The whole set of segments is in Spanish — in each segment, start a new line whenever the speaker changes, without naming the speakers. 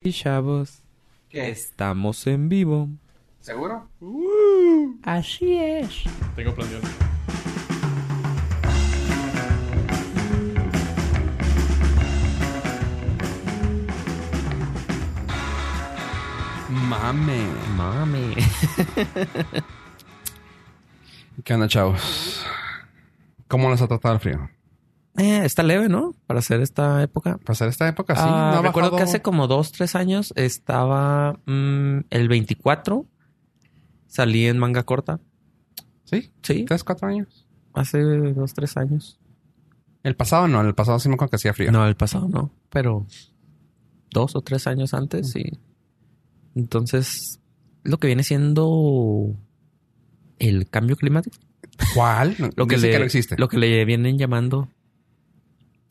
Y chavos,
¿Qué?
estamos en vivo.
¿Seguro?
Así es.
Tengo planeado.
Mame.
Mami.
¿Qué onda, chavos? ¿Cómo les ha tratado el frío?
Eh, está leve, ¿no? Para hacer esta época.
Para hacer Pues esta época, sí.
Ah,
no ha
recuerdo que
bajado.
hace como dos, tres años estaba mm, el 24. Salí en manga corta.
¿Sí?
Sí,
¿Tres, cuatro años?
hace dos, tres años.
El pasado no, el pasado sí me acuerdo que hacía frío.
No, el pasado no, pero dos o tres años
Mm.
antes, sí. Entonces, lo que viene siendo el cambio climático.
¿Cuál?
Lo que,
dice
le,
que no existe.
lo que le vienen llamando.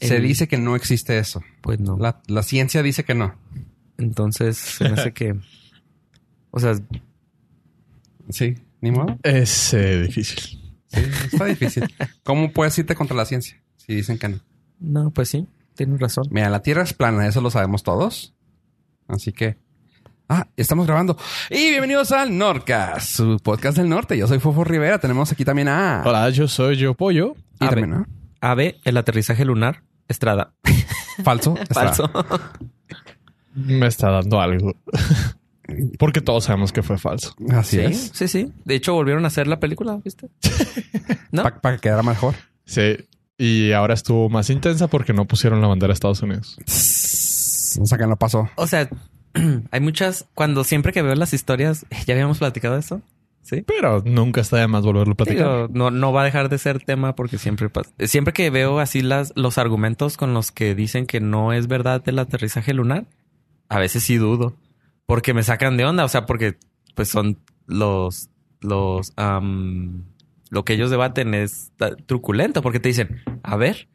Se
el-
dice que no existe eso.
Pues no.
La, la ciencia dice que no.
Entonces, se me hace que. O sea,
Sí, ni modo.
Es eh, difícil.
Sí, está difícil. ¿Cómo puedes irte contra la ciencia si dicen que no?
no, pues sí, tienes razón.
Mira, la Tierra es plana, eso lo sabemos todos. Así que... Ah, estamos grabando. Y bienvenidos al Norcas, su podcast del norte. Yo soy Fofo Rivera. Tenemos aquí también a...
Hola, yo soy Yo Pollo.
Y
A
también, ¿no?
Ave, el aterrizaje lunar, Estrada.
Falso. está.
Falso.
Me está dando algo. Porque todos sabemos que fue falso.
Así
sí,
es.
sí, sí. De hecho, volvieron a hacer la película, ¿viste? ¿No?
Para que quedara mejor.
Sí. Y ahora estuvo más intensa porque no pusieron la bandera de Estados Unidos.
No sacan lo paso.
O sea, hay muchas. Cuando siempre que veo las historias, ya habíamos platicado de eso. Sí.
Pero nunca está de más volverlo a platicar.
Digo, no, no va a dejar de ser tema porque siempre pas- Siempre que veo así las, los argumentos con los que dicen que no es verdad el aterrizaje lunar, a veces sí dudo. Porque me sacan de onda. O sea, porque pues son los, los, am, lo que ellos debaten es ta- truculento porque te dicen, a ver,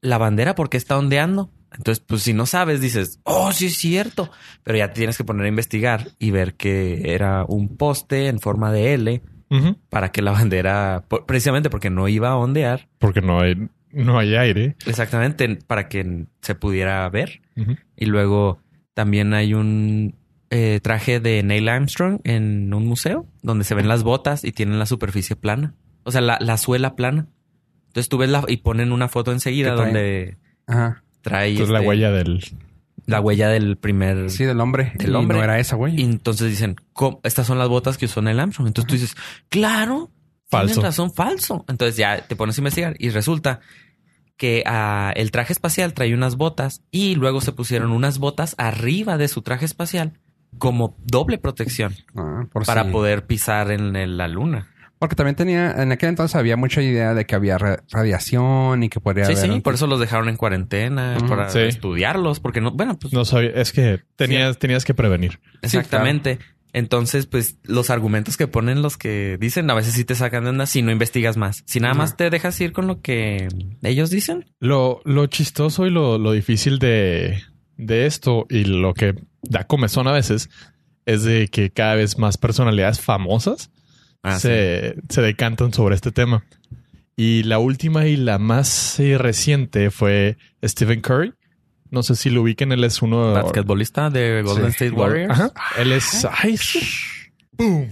la bandera porque está ondeando. Entonces, pues si no sabes, dices, oh, sí es cierto. Pero ya te tienes que poner a investigar y ver que era un poste en forma de L
Ujú.
para que la bandera, por- precisamente porque no iba a ondear,
Porque no hay, no hay aire.
exactamente para que se pudiera ver.
Ujú.
Y luego también hay un eh, traje de Neil Armstrong en un museo donde se ven las botas y tienen la superficie plana, o sea, la, la suela plana. Entonces tú ves la y ponen una foto enseguida
Que traen-
donde
Ajá.
trae
Entonces Pues la
este,
huella del...
la huella del primer.
Sí, del hombre.
Del
Y
hombre.
no era esa,
Y
güey.
entonces dicen, "¿Cómo? estas son las botas que usó Neil Armstrong. Entonces tú dices, claro,
Falso.
Tienen razón, falso. Entonces ya te pones a investigar y resulta que ah, el traje espacial trae unas botas y luego se pusieron unas botas arriba de su traje espacial como doble protección
Ah, por
para
si-
poder pisar en el- la luna.
Porque también tenía... En aquel entonces había mucha idea de que había ra- radiación y que podría
Sí,
haber...
sí,
un-
por eso los dejaron en cuarentena
Mm,
para
sí.
estudiarlos, porque no, bueno, pues
No sabía... Es que tenías, tenías que prevenir.
exactamente. Entonces, pues los argumentos que ponen los que dicen a veces sí te sacan de onda si no investigas más. Si nada más
Ajá.
te dejas ir con lo que ellos dicen,
Lo, lo chistoso y lo, lo difícil de, de esto y lo que da comezón a veces es de que cada vez más personalidades famosas
Ah, sí.
se, se decantan sobre este tema. Y la última y la más eh, reciente fue Stephen Curry. No sé si lo ubiquen, él es uno
basquetbolista de Golden
Sí.
State Warriors.
Ajá. Él es. ay, ¡Boom!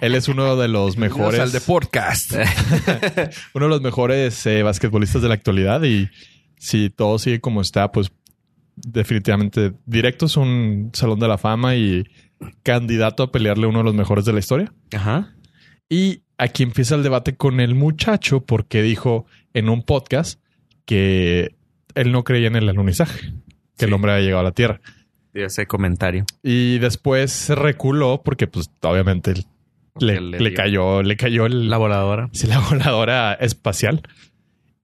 Él es uno de los
Bienvenidos
mejores
al de podcast.
uno de los mejores eh, basquetbolistas de la actualidad y si todo sigue como está, pues definitivamente directo es un salón de la fama y candidato a pelearle uno de los mejores de la historia.
Ajá.
Y aquí empieza el debate con el muchacho porque dijo en un podcast que él no creía en el alunizaje, que el
Sí.
hombre había llegado a la Tierra.
de ese comentario.
Y después se reculó porque pues obviamente le,
le
le
dio.
cayó, le cayó el,
La voladora.
Sí, la voladora espacial.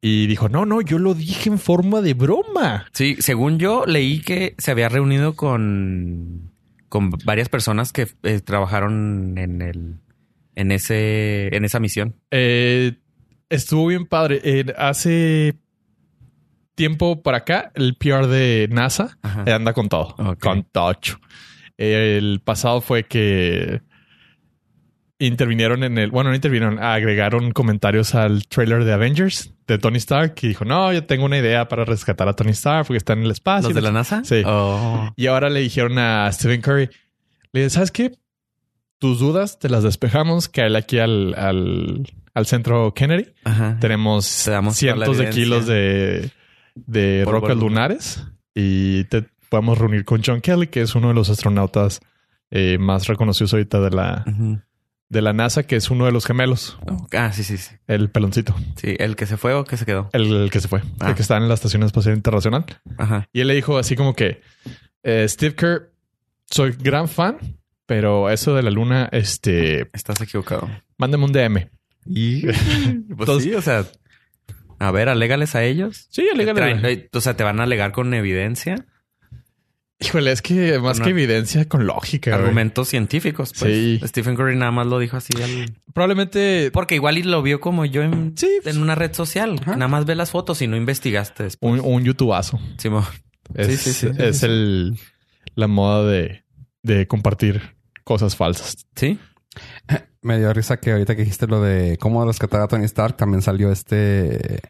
Y dijo, no, no, yo lo dije en forma de broma.
Sí, según yo leí que se había reunido con, con varias personas que eh, trabajaron en el en ese en esa misión.
Eh, estuvo bien padre. Eh, hace tiempo para acá, el PR de NASA
Ajá.
eh, anda con todo.
Ok.
Con tocho. Eh, el pasado fue que intervinieron en el, bueno, no intervinieron, agregaron comentarios al trailer de Avengers de Tony Stark y dijo, no, yo tengo una idea para rescatar a Tony Stark porque está en el espacio.
¿Los de la NASA?
ah, Sí.
Oh.
Y ahora le dijeron a Stephen Curry, le dije, ¿sabes qué? Tus dudas te las despejamos, cae aquí al, al, al centro Kennedy.
Ajá.
Tenemos
Te damos toda la
cientos de
evidencia.
kilos de, de
Polvo
rocas
lunar.
lunares y te podemos reunir con John Kelly, que es uno de los astronautas eh, más reconocidos ahorita de la,
Ujú.
de la NASA, que es uno de los gemelos,
Ah, sí, sí, sí.
el peloncito,
Sí, el que se fue o que se quedó.
el, el que se fue,
Ah.
el que está en la Estación Espacial Internacional.
Ajá.
Y él le dijo así como que, eh, Steve Kerr, soy gran fan, pero eso de la luna, este,
Estás equivocado.
mándame un DM.
Y pues
Entonces-
sí, o sea, a ver, alégales a ellos.
Sí,
Te
alégale.
traen- o sea, te van a alegar con evidencia,
Híjole, es que más
Con
que
una-
evidencia, con lógica. güey.
argumentos científicos. Pues.
Sí.
Stephen Curry nada más lo dijo así. al-
Probablemente
Porque igual y lo vio como yo en,
Sí, pues.
en una red social.
Ajá.
Nada más ve las fotos y no investigaste después.
un, un youtubazo.
Simón.
Es,
Sí, sí, sí, sí,
es
sí.
el la moda de, de compartir cosas falsas.
Sí.
Me dio risa que ahorita que dijiste lo de cómo rescatar a Tony Stark, también salió este.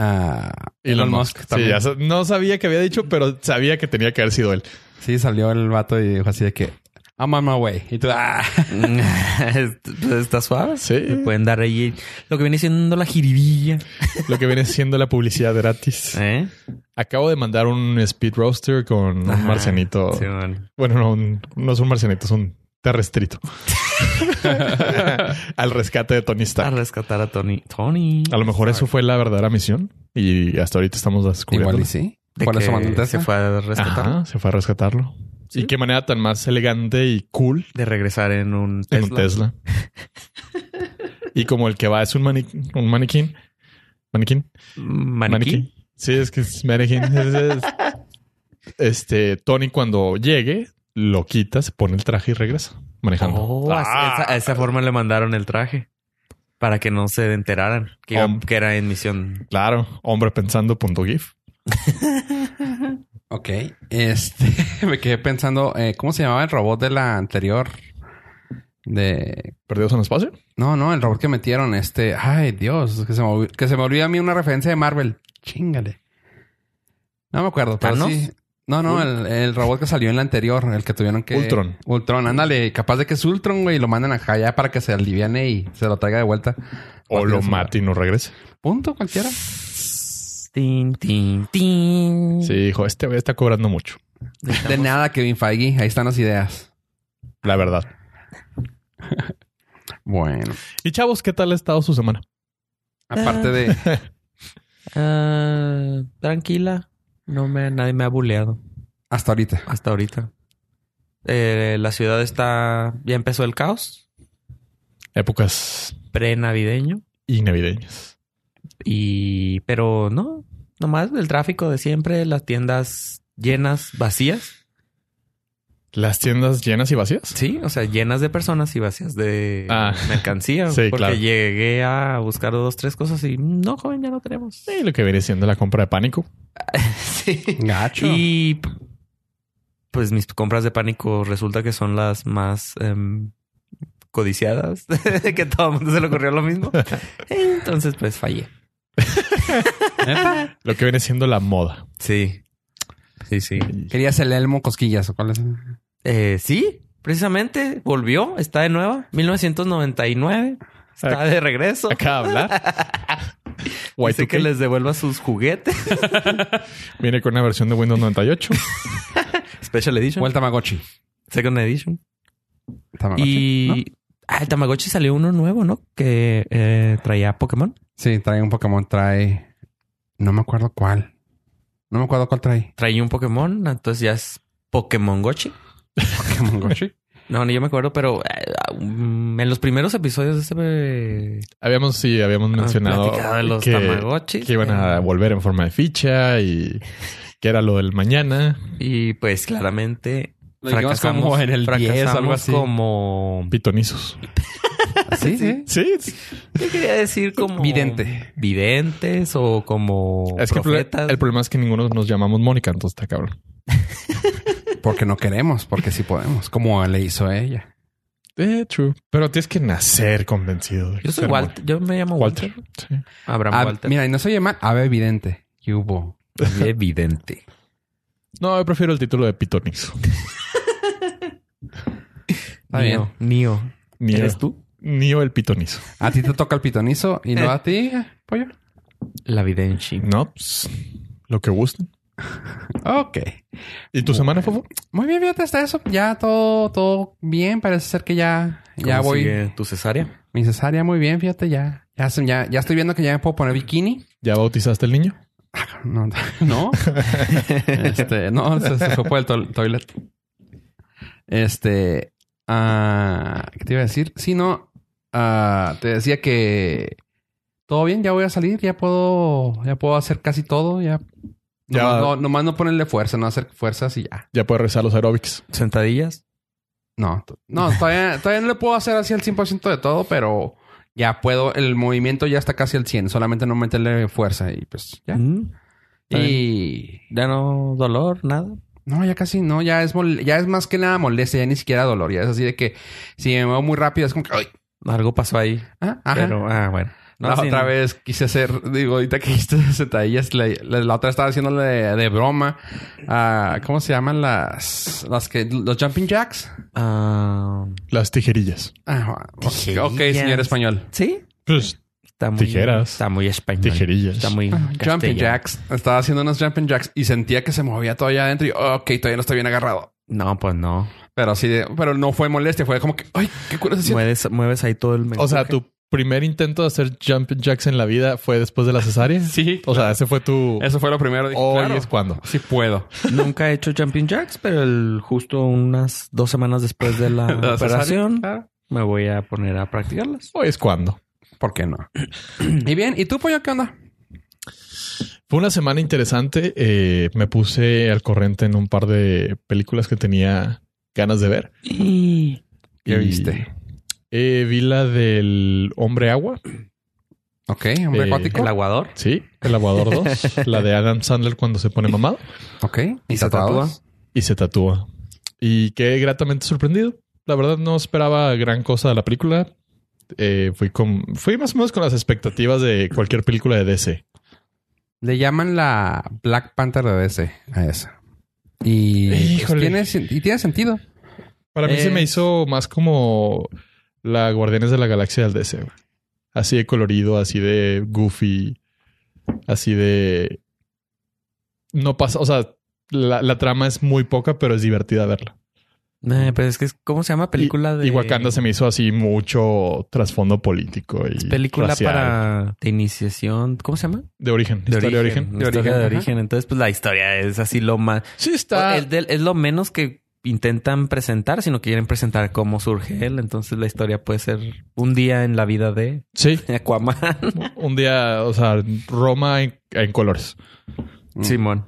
ah, Elon Musk
Sí,
también.
ya sa- no sabía que había dicho, pero sabía que tenía que haber sido él.
Sí, salió el vato y dijo así de que I'm on my way. Y tú, ah,
Pues, Está suave.
Sí.
Le pueden dar ahí lo que viene siendo la jiribilla.
Lo que viene siendo la publicidad gratis.
¿Eh?
Acabo de mandar un speed roaster con un
Ajá.
marcenito.
Simón.
Bueno, no, un- no es un marcenito, es un terrestrito. Al rescate de Tony
A
Stark.
rescatar a Tony. Tony.
A lo mejor eso fue la verdadera misión y hasta ahorita estamos
igual
descubriendo.
y sí.
De
Por eso
que
mandó un
se
Tesla.
fue a rescatar.
Ajá, se fue a rescatarlo.
Sí.
Y qué manera tan más elegante y cool
De regresar en un Tesla.
en un Tesla. y como el que va es un, mani- un maniquín. ¿Maniquín?
Maniquí.
Sí, es que es maniquín. Es- es- Este, Tony cuando llegue, lo quita, se pone el traje y regresa manejando.
Oh, a-
Ah,
esa- a esa forma le mandaron el traje para que no se enteraran que, iba-
Hom-
que era en misión.
Claro, hombre pensando punto gif.
Ok. Este, me quedé pensando, eh, ¿cómo se llamaba el robot de la anterior? De.
¿Perdidos en el espacio?
No, no, el robot que metieron, este. Ay, Dios, que se me, olvi- que se me olvida a mí una referencia de Marvel. Chingale. No me acuerdo, pero
¿Thanos?
sí. No, no, el, el robot que salió en la anterior, el que tuvieron que.
Ultron.
Ultron, ándale, capaz de que es Ultron, güey, y lo mandan acá ya para que se aliviane y se lo traiga de vuelta.
O lo
Perdidos en-
mata y no regresa.
Punto, cualquiera.
Tin, tin, tin.
Sí, hijo, este güey está cobrando mucho.
De nada, Kevin Feige. Ahí están las ideas.
La verdad.
Bueno.
Y chavos, ¿qué tal ha estado su semana?
Aparte de...
Ah, tranquila. No me, nadie me ha buleado
Hasta ahorita.
hasta ahorita. Eh, la ciudad está. Ya empezó el caos
Épocas
pre-navideño.
y navideñas.
Y. Pero no. Nomás el tráfico de siempre, las tiendas llenas, vacías.
¿Las tiendas llenas y vacías?
Sí, o sea, llenas de personas y vacías de
Ah.
mercancía.
Sí,
porque
claro.
llegué a buscar dos, tres cosas y no, joven, ya no tenemos.
Sí, lo que viene siendo la compra de pánico.
Sí.
Gacho.
Y p- pues mis compras de pánico resulta que son las más em, codiciadas, que a todo el mundo se le ocurrió lo mismo. Entonces, pues fallé.
Lo que viene siendo la moda.
Sí. Sí, sí.
Querías el elmo cosquillas. ¿o ¿Cuál es?
Eh, sí, precisamente volvió, está de nueva, 1999. Está de regreso.
Acá habla. y
Dice que les devuelva sus juguetes.
Viene con una versión de Windows 98.
Special Edition.
O el Tamagotchi.
Second Edition.
Tamagotchi,
Y...
¿no?
Ah, el Tamagotchi salió uno nuevo, ¿no? Que eh, traía Pokémon.
Sí, trae un Pokémon. Trae... No me acuerdo cuál. No me acuerdo cuál trae.
traía un Pokémon, entonces ya es Pokémon Gochi.
Pokémon Gochi.
No, ni yo me acuerdo, pero eh, ah, mm, en los primeros episodios de ese eh,
Habíamos, sí, habíamos mencionado
platicado Ah, de los
que,
Tamagotchis.
que iban a
eh,
volver en forma de ficha y que era lo del mañana.
Y pues claramente
Lo dijimos como en el 10 o algo
fracasamos
así.
como...
Pitonizos.
Sí, sí.
Sí.
¿Qué quería decir? Como...
Vidente.
Videntes o como
Es que el, pro-
profetas.
el problema es que ninguno nos llamamos Mónica, entonces está cabrón.
Porque no queremos, porque sí podemos. Como le hizo ella.
Eh, true. Pero tienes que nacer convencido. de que
Yo soy
ser
Walter. Yo me llamo Walter.
Walter. Sí.
Abraham
Ah,
Walter.
mira, y no se llama ave evidente. Y hubo.
Evidente.
No, yo prefiero el título de Pitonix.
Está bien.
Nio, Nio.
Nio.
¿Eres tú?
Nio el pitonizo.
A ti te toca el pitonizo y no a ti, pollo.
La Videnchi.
No, pues, lo que gusten.
Ok.
¿Y tu semana, Fofo?
Muy bien, fíjate hasta eso. Ya todo, todo bien. Parece ser que ya, ya
¿Cómo
voy.
sigue tu cesárea?
Mi cesárea muy bien, fíjate, ya. Ya, se- ya, ya estoy viendo que ya me puedo poner bikini.
¿Ya bautizaste al niño?
No, no. este, no, se, se fue por el toil- toilet. Este, ah, ¿qué te iba a decir? Sí, no, ah, te decía que todo bien, ya voy a salir, ya puedo, ya puedo hacer casi todo, ya.
Ya.
Nomás, no, nomás no ponerle fuerza, no hacer fuerzas y ya.
¿Ya puedes rezar los aeróbics?
¿Sentadillas?
No, t- no, todavía, todavía no le puedo hacer así al 100% de todo, pero ya puedo, el movimiento ya está casi al 100, solamente no meterle fuerza y pues ya.
Mm. Está
Y
¿Ya no dolor? ¿Nada?
No, ya casi no, ya es mol- ya es más que nada molestia, ya ni siquiera dolor, ya es así de que si me muevo muy rápido es como que, ay,
Algo pasó ahí.
ah, ajá.
Pero, ah, bueno.
la
sí,
otra
no.
vez quise hacer, digo, ahorita que hiciste sentadillas, la, la- la otra estaba haciéndole de, de broma. a... ¿Cómo se llaman las, las que, los jumping jacks?
Ah,
Las tijerillas.
Ah, ok, ok,
Tijerillas.
señor español.
¿sí.
Pues,
Está muy,
Tijeras.
Está muy español.
Tijerillas.
Está muy.
Ah, Jumping
Ah, castellano.
jacks. Estaba haciendo unos jumping jacks y sentía que se movía todo allá adentro y, ok, todavía no estoy bien agarrado.
No, pues no.
Pero sí, de- pero no fue molestia, fue como que, ay, qué culo se siente.
Mueves, mueves ahí todo el
o sea,
mensaje.
tu primer intento de hacer jump jacks en la vida fue después de la cesárea.
Sí,
O sea, ese fue tu.
pues,
Eso fue lo primero. Dije,
Hoy
claro,
es cuando.
sí puedo.
Nunca he hecho jumping jacks, pero el, justo unas dos semanas después de la,
La cesárea,
operación
Ah.
claro.
me voy a poner a practicarlas.
Hoy es cuando.
¿Por qué no? y bien, ¿y tú, pollo, qué onda?
Fue una semana interesante. eh, me puse al corriente en un par de películas que tenía ganas de ver.
¿Qué
Y,
viste?
eh, vi la del Hombre Agua.
Ok, hombre
Eh,
acuático.
El aguador.
Sí, El Aguador 2. la de Adam Sandler cuando se pone mamado
Ok.
¿Y se
tatuados?
y se tatúa. Y quedé gratamente sorprendido. La verdad no esperaba gran cosa de la película. Eh, fui, con, fui más o menos con las expectativas de cualquier película de DC.
Le llaman la Black Panther de DC a esa. Y, pues,
Híjole.
tiene, sen- y tiene sentido.
Para mí se me
Es-
hizo más como la Guardianes de la Galaxia del DC. güey. Así de colorido, así de goofy, así de... No pasa, o sea, la, la trama es muy poca, pero es divertida verla.
Eh, pero es que es, ¿cómo se llama? Película de.
Mm. Y Wakanda se me hizo así mucho trasfondo político y
Es película
racial.
para de iniciación. ¿Cómo se llama?
De origen, historia de origen.
De origen.
origen,
de
ajá.
origen. Entonces, pues la historia es así lo más.
Sí está...
Es, del- es lo menos que intentan presentar, sino que quieren presentar cómo surge él. Entonces, la historia puede ser un día en la vida de
Sí,
Aquaman.
un día, o sea, Roma en, en colores. Mm.
Simón.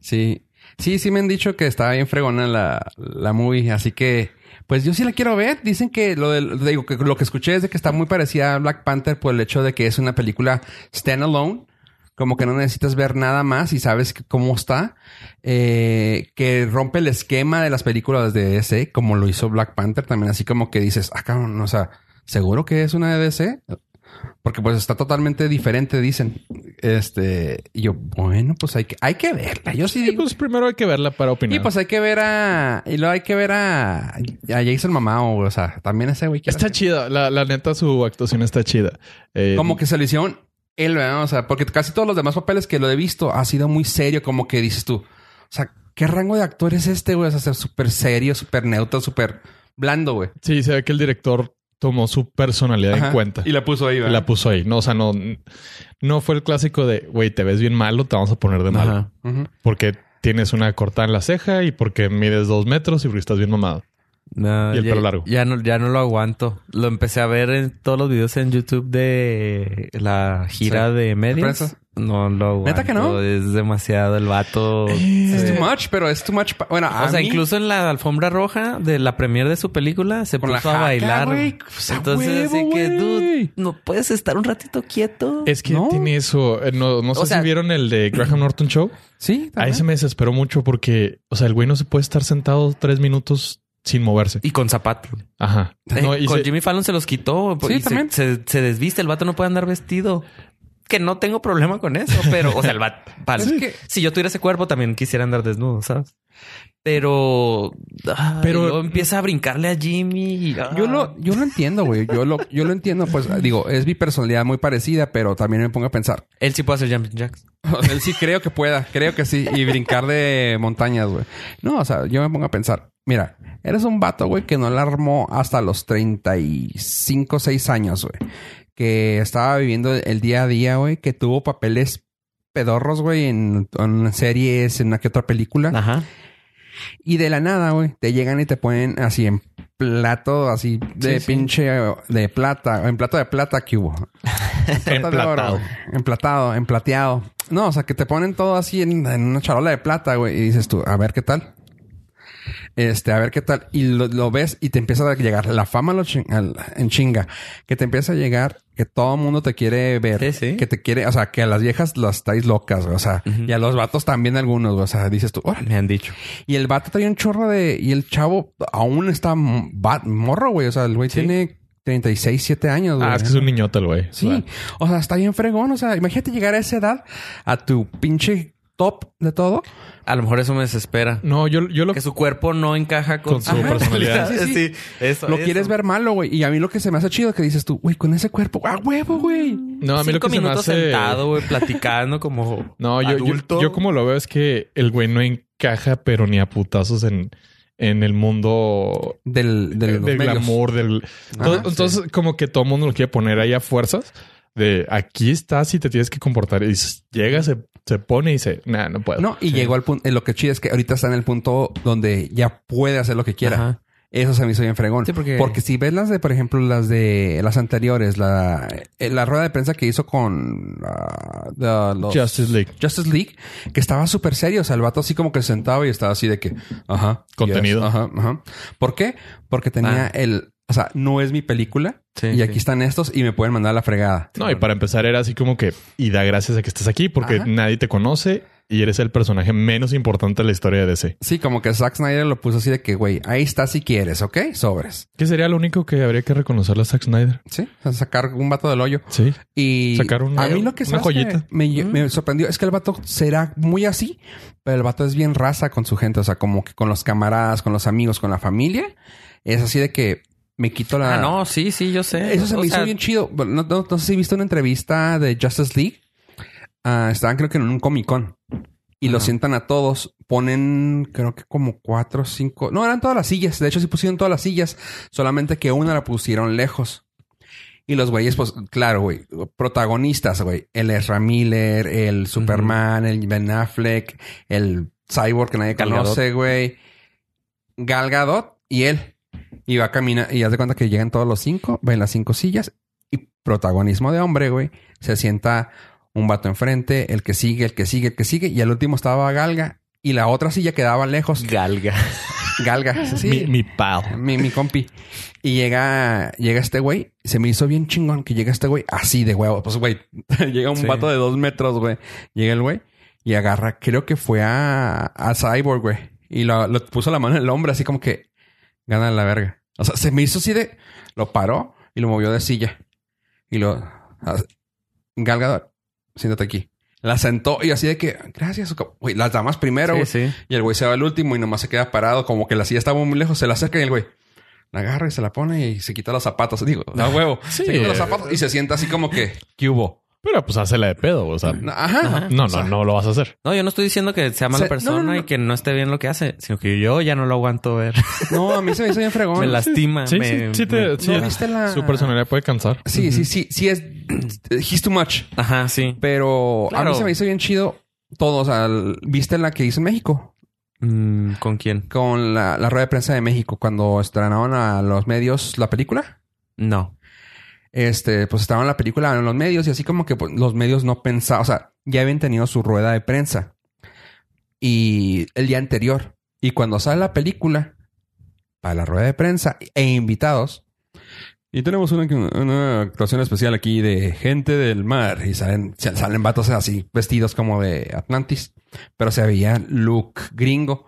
Sí. Sí, sí me han dicho que estaba bien fregona la, la movie. Así que, pues yo sí la quiero ver. Dicen que lo del, digo, que lo que escuché es de que está muy parecida a Black Panther por el hecho de que es una película standalone. Como que no necesitas ver nada más y sabes que- cómo está. Eh, que rompe el esquema de las películas de DC, como lo hizo Black Panther también. Así como que dices, ah, cabrón, o sea, ¿seguro que es una de DC? Porque pues está totalmente diferente, dicen. Este, y yo, bueno, pues hay que, hay que verla. Yo sí
Y
digo.
pues primero hay que verla para opinar.
Y pues hay que ver a. Y luego hay que ver a. A Jason Mamao, güey. o sea, también ese güey. quiero
Está
decir.
chida, la, la neta su actuación está chida. Eh,
Como que se lo hicieron él, ¿verdad? O sea, porque casi todos los demás papeles que lo he visto ha sido muy serio, como que dices tú. O sea, ¿qué rango de actor es este, güey? O sea, ser súper serio, súper neutro, súper blando, güey.
Sí, se ve que el director tomó su personalidad
Ajá.
en cuenta.
Y la puso ahí,
Y
¿verdad?
la puso ahí. No, o sea, no, no fue el clásico de, güey, te ves bien malo, te vamos a poner de malo.
Ajá.
Ujú.
Porque tienes una cortada en la ceja y porque mides dos metros y porque estás bien mamado.
No,
Y el
ya,
pelo largo.
Ya no, ya no lo aguanto. Lo empecé a ver en todos los videos en YouTube de la gira
Sí.
de medios.
prensa?
No lo aguanto.
¿Neta que no?
Es demasiado el vato.
Es
Se-
too much, pero es too much. pa- Bueno, a
o sea,
mí-
incluso en la alfombra roja de la premiere de su película se
Con la
puso a
jaca,
bailar.
güey. O sea,
Entonces, así
huevo,
que,
güey.
dude, no puedes estar un ratito quieto.
Es que
No.
tiene eso. eh, No, no sé
sea-
si vieron el de Graham Norton Show.
Sí,
Ahí
también.
se me desesperó mucho porque, o sea, el güey no se puede estar sentado tres minutos sin moverse.
Y con zapato.
Ajá. No,
Eh,
y
con
se-
Jimmy Fallon se los quitó. pues,
Sí,
y se-
también.
Se, se desviste, el vato no puede andar vestido. Que no tengo problema con eso, pero, o sea, el vato. vale.
Es que-
Si yo tuviera ese cuerpo, también quisiera andar desnudo, ¿sabes? Pero.
Pero-
pero empieza a brincarle a Jimmy. y-
Yo
ah.
lo, yo lo entiendo, güey. Yo lo, yo lo entiendo. Pues digo, es mi personalidad muy parecida, pero también me pongo a pensar.
Él sí puede hacer jumping jacks.
O sea, Él sí creo que pueda, creo que sí. Y brincar de montañas, güey. No, o sea, yo me pongo a pensar. Mira, eres un vato, güey, que no la armó hasta los 35, 6 años, güey. Que estaba viviendo el día a día, güey. Que tuvo papeles pedorros, güey, en, en series, en una que otra película.
Ajá.
Y de la nada, güey, te llegan y te ponen así en plato, así de
Sí, sí.
pinche de plata, en plato de plata que hubo. Plata de oro,
Emplatado.
güey. emplatado, emplateado. No, o sea, que te ponen todo así en, en una charola de plata, güey, y dices tú, a ver qué tal. Este, a ver qué tal. Y lo, lo ves y te empieza a llegar la fama lo chin- al- en chinga. Que te empieza a llegar que todo el mundo te quiere ver.
Sí, sí.
Que te quiere, o sea, que a las viejas las estáis locas, güey. O sea, y a los vatos también algunos, güey. O sea, dices tú, órale.
Me han dicho.
Y el vato trae un chorro de... Y el chavo aún está m- va- morro, güey. O sea, el güey
Sí.
tiene 36, 7 años, güey.
Ah, es que es un niñote el güey.
Sí.
O sea,
O sea, está bien fregón. O sea, imagínate llegar a esa edad a tu pinche top de todo.
A lo mejor eso me desespera.
No, yo, yo lo
Que su cuerpo no encaja con,
Con su personalidad.
Sí, sí, sí. Eso,
Lo
eso.
quieres ver malo, güey. Y a mí lo que se me hace chido es que dices tú, güey, con ese cuerpo, ¡ah, huevo, güey!
No, a mí lo
Cinco
que se me
minutos
hace-
sentado, güey, platicando como
No, yo, yo,
adulto.
yo como lo veo es que el güey no encaja, pero ni a putazos en, en el mundo
Del, del,
del,
los medios.
glamour, del...
Ajá,
Entonces- entonces, como que todo el mundo lo quiere poner ahí a fuerzas de aquí estás y te tienes que comportar. Y s- llega, se, se pone y dice, nah, no puedo.
No, y llegó al punto... eh, Lo que chido es que ahorita está en el punto donde ya puede hacer lo que quiera.
Ajá.
Eso se me hizo bien fregón.
Sí, porque-
si ves las de, por ejemplo, las de las anteriores, la, eh, la rueda de prensa que hizo con ah, la- los-
Justice League.
Justice League, que estaba súper serio. O sea, el vato así como que se sentaba y estaba así de que, ajá,
Contenido.
yes, ajá, ajá. ¿Por qué? Porque tenía
Ah.
el, o sea, no es mi película
Sí,
y aquí
sí.
están estos y me pueden mandar a la fregada.
No, y para empezar era así como que, y da gracias a que estás aquí porque
Ajá.
nadie te conoce y eres el personaje menos importante de la historia de DC.
Sí, como que Zack Snyder lo puso así de que, güey, ahí está si quieres, ¿ok? Sobres.
¿Qué sería lo único que habría que reconocerle a Zack Snyder?
Sí, O sea, sacar un vato del hoyo.
Sí.
Y
Sacar un-
a mí lo que
una
sabes
joyita.
que Me, me sorprendió es que el vato será muy así, pero el vato es bien raza con su gente, o sea, como que con los camaradas, con los amigos, con la familia. Es así de que me quito la.
Ah, no, sí, sí, yo sé.
Eso se me
O
hizo
sea,
bien chido. Bueno, No, no- no sé si viste una entrevista de Justice League. Ah, estaban, creo que en un Comic Con. Y lo
Ajá.
sientan a todos. Ponen, creo que como cuatro, cinco. No, eran todas las sillas. De hecho, sí pusieron todas las sillas. Solamente que una la pusieron lejos. Y los güeyes, pues, claro, güey. Protagonistas, güey. El Ezra Miller, el Superman, el Ben Affleck, el Cyborg que nadie
Gal Gadot.
conoce, güey. Gal Gadot y él. Y va a caminar. Y haz de cuenta que llegan todos los cinco. Ven las cinco sillas. Y protagonismo de hombre, güey. Se sienta un vato enfrente, el que sigue, el que sigue, el que sigue. Y al último estaba Galga. Y la otra silla quedaba lejos.
Galga.
Galga. Sí.
Mi, mi pal.
Eh, Mi, mi compi. Y llega, llega este güey. Se me hizo bien chingón que llega este güey así de huevo. Pues güey, llega un
Sí.
vato de dos metros, güey. Llega el güey y agarra, creo que fue a, a Cyborg, güey. Y lo, lo puso la mano en el hombro, así como que gana la verga. O sea, se me hizo así de. Lo paró y lo movió de silla. Y lo. ah, Galgador, siéntate aquí. La sentó y así de que, gracias. como- Güey, las damas primero, güey.
sí, sí.
Y el güey se va al último y nomás se queda parado, como que la silla estaba muy lejos, se la acerca y el güey la agarra y se la pone y se quita los zapatos. Digo, da huevo.
Sí.
Se quita los zapatos y se sienta así como que, ¿qué hubo?
Pero pues hazla de pedo, o sea.
No,
No,
Ajá.
no,
O sea,
no lo vas a hacer.
No, yo no estoy diciendo que sea mala
O sea,
persona
no, no, no.
y que no esté bien lo que hace, sino que yo ya no lo aguanto ver.
No, a mí se me hizo bien fregón.
me lastima.
Sí,
me-
sí, sí, te-
me-
sí,
¿No viste la-
Su personalidad puede cansar.
Sí, sí, sí, sí es... He's too much.
Ajá, sí.
Pero a
Claro.
mí se me hizo bien chido todo. O sea, el- ¿viste la que hizo en México?
Mm, ¿Con quién?
Con la, la rueda de prensa de México, cuando estrenaron a los medios la película.
No.
este, pues estaba en la película en los medios y así como que pues, los medios no pensaban, o sea, ya habían tenido su rueda de prensa y el día anterior. Y cuando sale la película para la rueda de prensa e invitados. Y tenemos una, una actuación especial aquí de gente del mar y salen, salen vatos así vestidos como de Atlantis, pero se veía look gringo.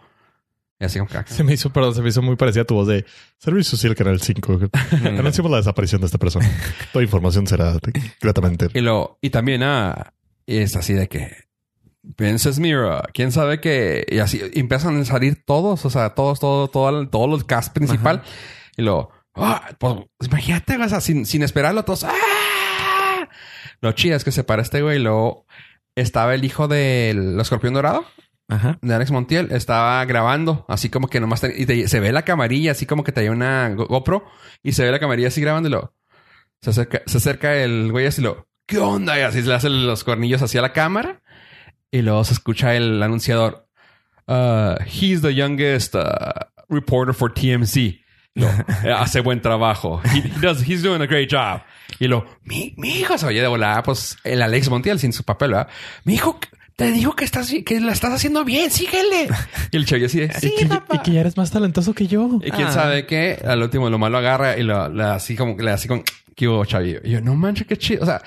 Y así como que, ah,
Se me hizo, perdón, se me hizo muy parecida a tu voz de Servicio Social Canal 5.
Mm.
Mm,
Anunciamos la desaparición de esta persona. Toda información será gratamente.
Y lo, y también, ah, y es así de que piensas, mira, quién sabe que, y así empiezan a salir todos, o sea, todos, todo, todo, todo el cast principal. Y lo, ah, pues imagínate, o sea, sin, sin esperarlo, todos, ¡ah! Lo chido es que se para este güey y luego estaba el hijo del escorpión dorado
Ajá.
de Alex Montiel estaba grabando, así como que nomás ten- y te- se ve la camarilla, así como que traía una Go- GoPro y se ve la camarilla así grabándolo. Se acerca, se acerca el güey así lo, ¿qué onda? Y así le hace los cornillos hacia la cámara y luego se escucha el anunciador. "Ah, he's the youngest ah, reporter for TMZ. Lo, "Eh, hace buen trabajo. He, he does- he's doing a great job. Y lo, mi, mi hijo se oye de volada, pues el Alex Montiel sin su papel, ¿verdad? Mi hijo te dijo que estás bi- que la estás haciendo bien, síguele. Y el chavio así de, sí, papá.
y que ya eres más talentoso que yo.
Y quién
Ah.
sabe qué, al último lo malo agarra y lo, la así como le así con que hubo chavillo. Y yo, no manches, qué chido. O sea,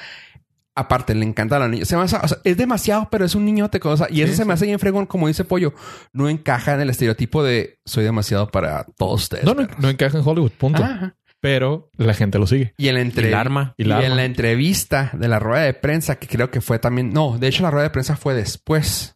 aparte le encanta a los niños. Se me hace- o sea, es demasiado, pero es un niñote cosa. Y eso se me hace bien fregón, como dice Pollo. No encaja en el estereotipo de soy demasiado para todos ustedes.
No, no,
perros".
no encaja en Hollywood, punto.
Ajá.
Pero la gente lo sigue.
Y en la
El
entrevista.
arma.
Y la
y en
arma.
la entrevista de la rueda de prensa, que creo que fue también. No, de hecho, la rueda de prensa fue después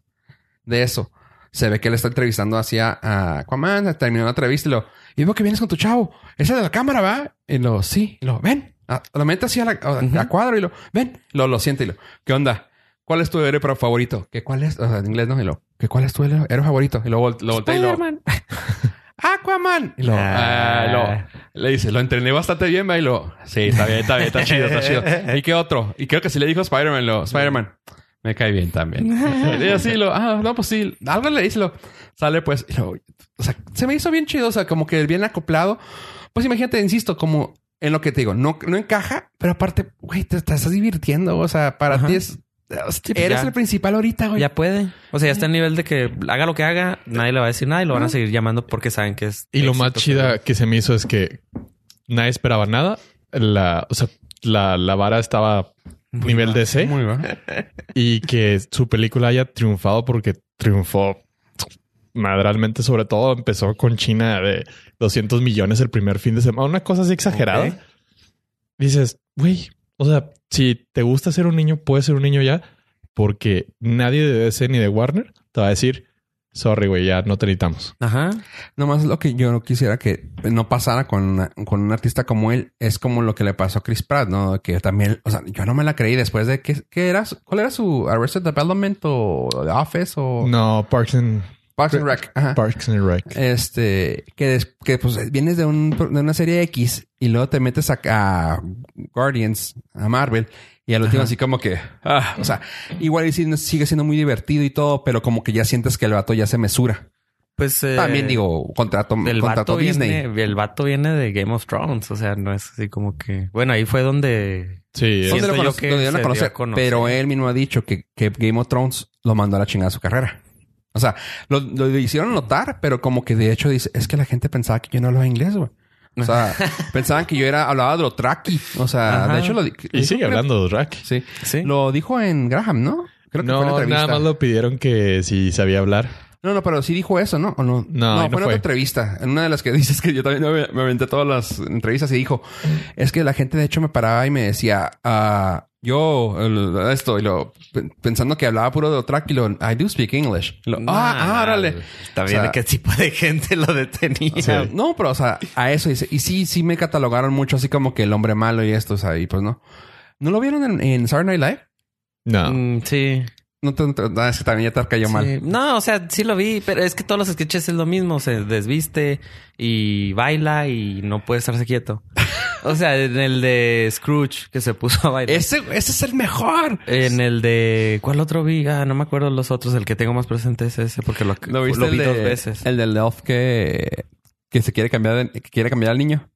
de eso. Se ve que él está entrevistando hacia a Aquaman, terminó la entrevista y lo. Y veo que vienes con tu chavo. Esa de la cámara, ¿va? Y lo, sí. Y lo, ven. A- lo mete así a, la, a-
Ujú.
a cuadro y lo, ven. Lo, lo siente y lo, ¿qué onda? ¿Cuál es tu héroe pro- favorito? ¿Qué cuál es? O sea, en inglés no. Y lo, ¿qué cuál es tu héroe héroe favorito? Y lo, vol- lo voltea y lo, Aquaman. Y lo,
Ah.
ah, lo- le dice, lo entrené bastante bien, va, y lo, sí, está bien, está bien, está chido, está chido. ¿Y qué otro? Y creo que si le dijo Spider-Man, lo, Spider-man, me cae bien también. y así lo, ah, no, pues sí, algo le dice, lo, sale pues, y lo- o sea, se me hizo bien chido, o sea, como que bien acoplado. Pues imagínate, insisto, como en lo que te digo, no, no encaja, pero aparte, güey, te, te estás divirtiendo, o sea, para
Ajá.
ti es,
pues
eres
ya.
el principal ahorita, güey.
Ya puede. O sea, ya está en nivel de que haga lo que haga, nadie le va a decir nada y lo van a seguir llamando porque saben que es.
Ah. Y lo más
exitoso.
chida que se me hizo es que nadie esperaba nada. La, o sea, la, la vara estaba nivel DC
Muy bien.
y que su película haya triunfado porque triunfó madralmente. Sobre todo empezó con China de 200 millones el primer fin de semana. Una cosa así exagerada.
Ok.
Dices, güey, o sea, si te gusta ser un niño, puedes ser un niño ya porque nadie de DC ni de Warner te va a decir, sorry, güey, ya no te necesitamos.
Ajá.
Nomás lo que yo no quisiera que no pasara con, una- con un artista como él es como lo que le pasó a Chris Pratt, ¿no? Que también, o sea, yo no me la creí después de que, que era, su- ¿cuál era su Arrested Development o The Office o
No, Parks and,
Parks and Rec? Ajá.
Parks and Rec.
Este, que, des- que pues vienes de, un- de una serie X y luego te metes a, a Guardians, a Marvel, y al último así como que, ah, o sea, igual y sí- sigue siendo muy divertido y todo, pero como que ya sientes que el vato ya se mesura.
Pues eh,
También digo, contrato,
El
contrato
vato,
Disney.
viene, el vato viene de Game of Thrones, o sea, no es así como que... Bueno, ahí fue donde...
Sí,
Son
¿Dónde
es-
lo,
Siento yo
conoce-
que
lo dieron a
se
conocer?
dio a conocer.
Pero él mismo ha dicho que, que Game of Thrones lo mandó a la chingada de su carrera. O sea, lo, lo hicieron notar, pero como que de hecho dice, es que la gente pensaba que yo no hablaba inglés, güey. O sea, pensaban que yo era, hablaba de lo traqui. O sea,
Ajá.
de hecho lo di-
y sigue hablando de Drac.
Sí.
Sí.
Lo dijo en Graham, ¿no? Creo que fue en la
No,
entrevista.
nada más lo pidieron que si sabía hablar.
No, no, pero sí dijo eso, ¿no? ¿O no? fue
No, no
en otra
fue.
entrevista. En una de las que dices que yo también me, me aventé todas las entrevistas y dijo, es que la gente de hecho me paraba y me decía, ah, yo el- esto, y lo pe- pensando que hablaba puro de otra y lo, I do speak English. Y lo, ah, ah, órale.
También
O sea,
de qué tipo de gente lo detenía.
Sí.
No, pero o sea, a eso dice. Y sí, sí me catalogaron mucho así como que el hombre malo y esto, o sea, y pues no. ¿No lo vieron en, en Saturday Night Live?
No.
Mm, sí.
No, te- te- no, es que también ya te cayó
Sí.
mal.
No, o sea, sí lo vi, pero es que todos los sketches es lo mismo. Se desviste y baila y no puede estarse quieto. O sea, en el de Scrooge que se puso a bailar.
Ese, ese es el mejor.
En el de... ¿Cuál otro vi? Ah, no me acuerdo los otros. El que tengo más presente es ese porque lo,
¿Lo
lo,
viste el
vi
de-
dos veces.
El del elf que, que se quiere cambiar, de- que quiere cambiar al niño.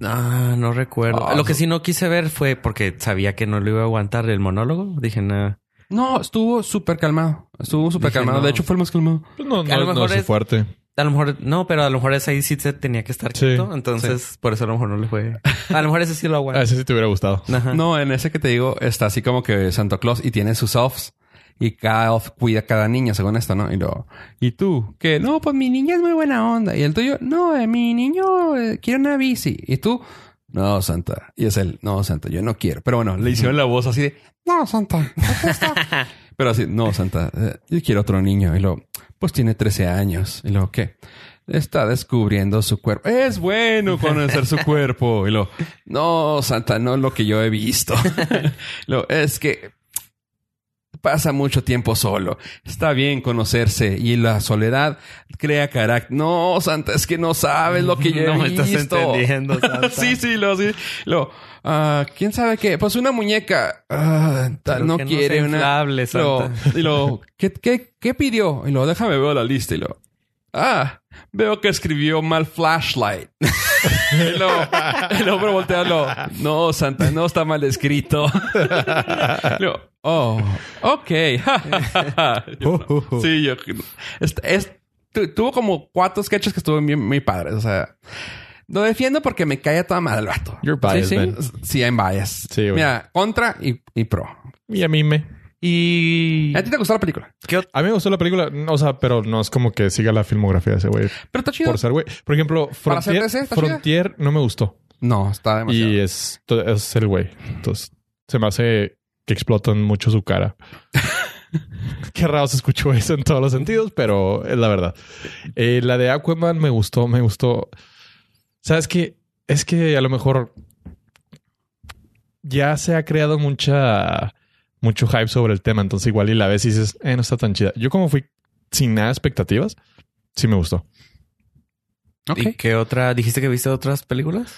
Ah, no recuerdo.
Ah,
lo que
su-
sí no quise ver fue porque sabía que no lo iba a aguantar el monólogo. Dije, nada.
No, estuvo súper calmado. Estuvo súper
Dije,
calmado.
no.
De hecho, fue el más calmado.
Pues no,
A lo
no, no
mejor
es su
es-
fuerte.
A lo mejor, no, pero a lo mejor ese ahí sí se tenía que estar
Sí,
quieto. entonces, por eso a lo mejor no le fue. A lo mejor ese sí lo
A
aguanta.
ese sí te hubiera gustado.
Ajá.
No, en ese que te digo está así como que Santo Claus y tiene sus offs. Y cada Oz cuida a cada niño, según esto, ¿no? Y luego, ¿y tú? Que no, pues mi niña es muy buena onda. Y el tuyo, no, eh, mi niño eh, quiere una bici. Y tú, no, Santa. Y es él, no, Santa, yo no quiero. Pero bueno, le hicieron la voz así de, no, Santa. protesta". Pero así, no, Santa, eh, yo quiero otro niño. Y luego, pues tiene 13 años. Y luego, ¿qué? Está descubriendo su cuerpo. Es bueno conocer su cuerpo. Y luego, no, Santa, no lo que yo he visto. Luego, es que pasa mucho tiempo solo. Está bien conocerse y la soledad crea carácter. No, Santa, es que no sabes lo que yo he
no me
visto.
estás entendiendo. Santa.
sí, sí, lo, sí. Lo, ah, ¿quién sabe qué? Pues una muñeca. Ah, tal,
Pero
no
que no
quiere
sea
una.
inflable,
Lo-
Santa.
y lo, ¿qué, qué, qué pidió? Y lo, déjame ver la lista. Y lo, ah, veo que escribió mal flashlight. y lo, el hombre voltea y lo, no, Santa, no está mal escrito. Y lo, oh, ok. Yo,
Oh,
sí, yo. es- es- tu- tuvo como cuatro sketches que estuvo bien, muy padres. O sea, lo defiendo porque me cae a toda madre el vato.
You're
sí,
biased,
sí.
man.
Sí, en bias.
Sí, güey.
Mira, contra y, y pro.
Y a mí me...
Y
¿A ti te gustó la película?
¿Qué ot-
A mí me gustó la película, o sea, pero no es como que siga la filmografía de ese güey.
Pero está chido.
Por ser güey. Por ejemplo,
Para ser
Frontier,
DC, está chida.
Frontier no me gustó.
No, está demasiado.
Y es, to- es el güey. Entonces, se me hace que explotan mucho su cara. Qué raro se escuchó eso en todos los sentidos, pero es la verdad. Eh, la de Aquaman me gustó, me gustó. ¿Sabes qué? Es que a lo mejor ya se ha creado mucha mucho hype sobre el tema. Entonces, igual y la ves y dices, eh, no está tan chida. Yo, como fui sin nada de expectativas, sí me gustó.
Ok.
¿Y qué otra? ¿Dijiste que viste otras películas?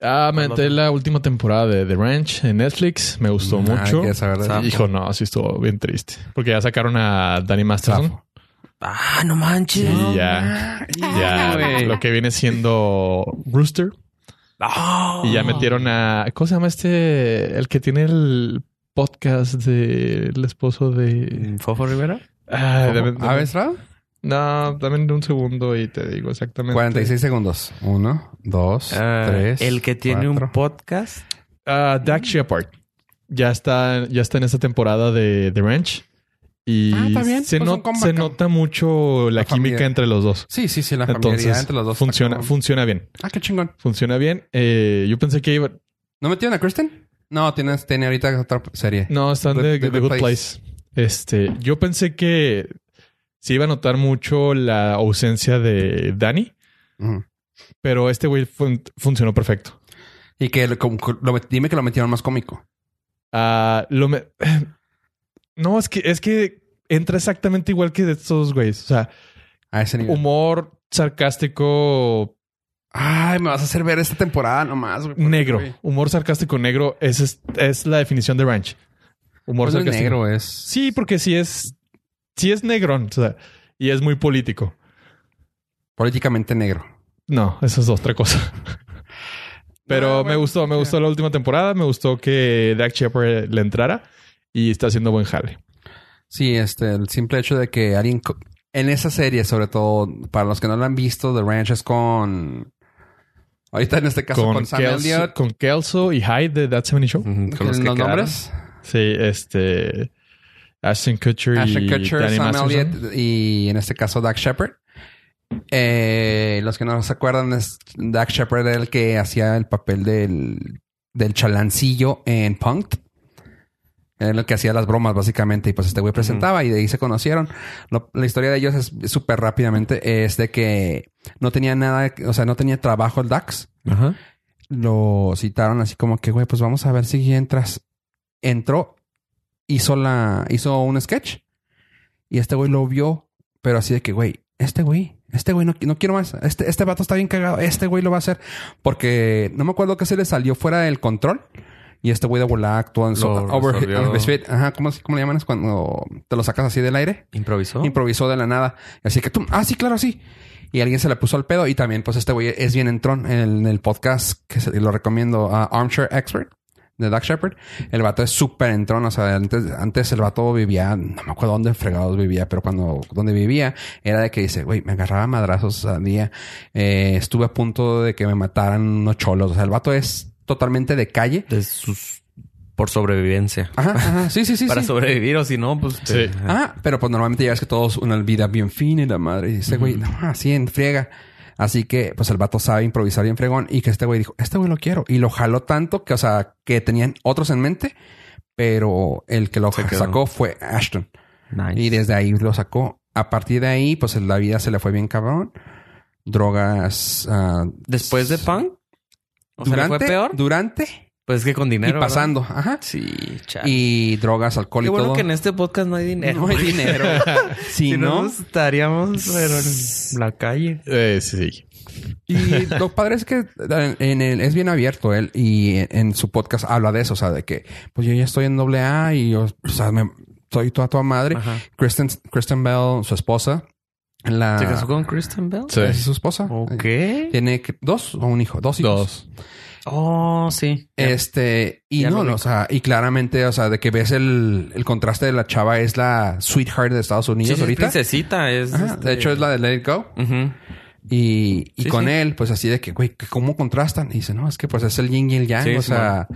Ah, me
Pues no
aventé
sé.
la última temporada de The Ranch en Netflix. Me gustó
Nada
mucho.
que saber de
Zafo.
eso.
Hijo, no, sí estuvo bien triste. Porque ya sacaron a Danny Masterson.
Zafo.
Ah, no manches.
Y ya,
Ah,
ya lo que viene siendo Rooster.
Oh.
Ah.
Y ya metieron a. ¿Cómo se llama este? El que tiene el podcast del esposo de.
¿Fofo Rivera?
Ah, de- de-
¿Aves Rao?
No, también un segundo y te digo exactamente.
46 segundos. Uno, dos,
Ah,
tres.
el que tiene un
cuatro.
podcast.
Ah, Dak Shepard. Ya está, ya está en esta temporada de The Ranch. Y
Ah, está bien.
se,
Pues
no-
un comeback.
se nota mucho la,
La familia.
química entre los dos.
Sí, sí, sí. La familiaridad
Entonces,
entre los dos. está
funciona,
como-
funciona bien.
Ah, qué chingón.
Funciona bien. Eh, yo pensé que iba.
¿No metieron a Kristen? No, tiene, tiene ahorita otra serie.
No, están
The-
de,
The
The
Good
Good Place. Este, yo pensé que se iba a notar mucho la ausencia de Danny, Mm.
Ujú.
pero este güey fun- funcionó perfecto.
Y que lo- como- lo met- dime que lo metieron más cómico.
Ah, lo me- No, es que, es que entra exactamente igual que de estos güeyes. O sea,
A ese nivel.
humor sarcástico
Ay, me vas a hacer ver esta temporada nomás. güey, porque,
negro.
güey,
Humor sarcástico negro es, es, es la definición de ranch. Humor
pues el
sarcástico.
negro es.
Sí, porque si es, si es negrón, o sea, y es muy político.
Políticamente negro.
No, eso es otra cosa.
Ah,
Pero me
bueno,
gustó, me
ya.
gustó la última temporada, me gustó que Dak Shepard le entrara y está haciendo buen jale.
Sí, este, el simple hecho de que alguien co- en esa serie, sobre todo para los que no la han visto, The Ranch es con ahorita en este caso con, Sam
Kelso,
Elliott.
con Kelso y Hyde de That 70 Show.
Con
¿Los,
que
los
quedaron.
nombres?
Sí, este Ashton Kutcher
Ashton
y
Kutcher,
Danny
Sam
Masterson.
Elliott y en este caso Doug Shepard. Eh, los que no se acuerdan es Doug Shepard era el que hacía el papel del, del chalancillo en Punked. Era el que hacía las bromas básicamente y pues este güey presentaba y de ahí se conocieron. Lo- la historia de ellos es súper rápidamente. Es de que no tenía nada, o sea, no tenía trabajo el Dax
Ajá.
lo citaron así como que, güey, pues vamos a ver si entras. Entró, hizo la, hizo un sketch y este güey lo vio, pero así de que, güey, este güey, este güey no, no quiero más. Este, este vato está bien cagado. Este güey lo va a hacer porque no me acuerdo que se le salió fuera del control. Y este güey de volada actuó en su
Lo
overhead-
resolvió.
overspeed. Ajá, ¿cómo, cómo le llaman? Es cuando te lo sacas así del aire
¿Improvisó?
improvisó de la nada. Así que tú, ah, sí, claro, sí. Y alguien se la puso al pedo. Y también, pues, este güey es bien entrón en el podcast que se- lo recomiendo a Armchair Expert de Doug Shepard. El vato es súper entrón. O sea, antes, antes el vato vivía, no me acuerdo dónde fregados vivía, pero cuando, donde vivía, era de que dice, güey, me agarraba a madrazos al día. Eh, estuve a punto de que me mataran unos cholos. O sea, el vato es totalmente de calle.
de sus por sobrevivencia.
Ajá, ajá. Sí, sí, sí.
Para
sí.
sobrevivir o si no, pues... te-
Sí.
Ah, pero pues normalmente ya ves que todos una vida bien fina y la madre. Y este güey, no, así en friega. Así que, pues el vato sabe improvisar bien fregón. Y que este güey dijo, este güey lo quiero. Y lo jaló tanto que, o sea, que tenían otros en mente. Pero el que lo
Se quedó.
sacó fue Ashton.
Nice.
Y desde ahí lo sacó. A partir de ahí, pues la vida se le fue bien cabrón. Drogas. ah,
Después de Punk, o sea, ¿le
durante,
fue peor.
Durante
Pues es que con dinero.
y
¿verdad?
pasando. Ajá.
Sí, chaval.
Y drogas, alcohol y
Qué bueno
todo.
que en este podcast no hay dinero.
No hay dinero. si,
Si no,
no,
nos estaríamos pero en la calle.
Eh, sí, sí.
Y lo padre es que en- en el- es bien abierto él y en, en su podcast habla de eso, o sea, de que pues yo ya estoy en doble A y yo, o sea, me, soy toda tu madre.
Ajá.
Kristen, Kristen Bell, su esposa, la,
¿Se casó con Kristen Bell?
Sí.
es su esposa.
Ok.
Tiene que- dos o un hijo, dos hijos.
Dos.
Oh, sí.
Este, y
Ya
no,
lo vi.
o sea, y claramente, o sea, de que ves el, el contraste de la chava es la sweetheart de Estados
Sí, sí,
Unidos
es
ahorita.
princesita. Es,
Ajá,
este-
De hecho, es la de Let It Go.
Ujú.
Y, y
Sí,
con
sí.
él, pues así de que, güey, que ¿cómo contrastan? Y dice, no, es que pues es el yin y el yang.
Sí,
o
sí,
sea,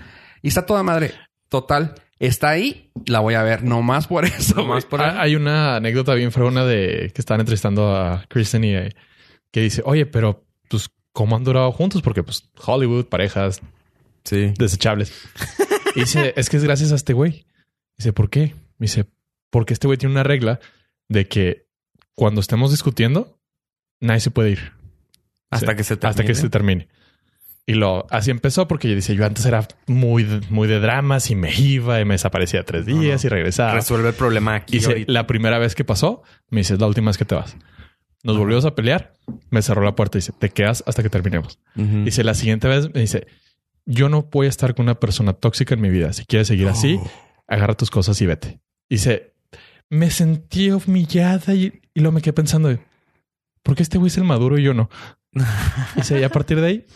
y está toda madre. Total, está ahí, la voy a ver. No más por eso.
No más
güey.
por ahí.
Ah, Hay una anécdota bien fregona de que estaban entrevistando a Kristen y eh, que dice, oye, pero pues, ¿cómo han durado juntos? Porque pues Hollywood, parejas
Sí.
desechables. Y dice, es que es gracias a este güey. Dice, ¿por qué? Dice, porque este güey tiene una regla de que cuando estemos discutiendo, nadie se puede ir.
Hasta
Sí.
que se termine.
Hasta que se termine. Y lo así empezó porque yo dice, yo antes era muy, de- muy de dramas y me iba y me desaparecía tres
No, no.
días y regresaba.
Resuelve el problema aquí
Y dice,
ahorita.
la primera vez que pasó, me dice, es la última vez que te vas. Nos volvimos a pelear, me cerró la puerta y dice, te quedas hasta que terminemos.
Ujú.
Dice, la siguiente vez me dice, yo no voy a estar con una persona tóxica en mi vida. Si quieres seguir así,
Oh.
agarra tus cosas y vete. Dice, me sentí humillada y, y luego me quedé pensando, ¿por qué este güey es el maduro y yo no? Dice, y a partir de ahí,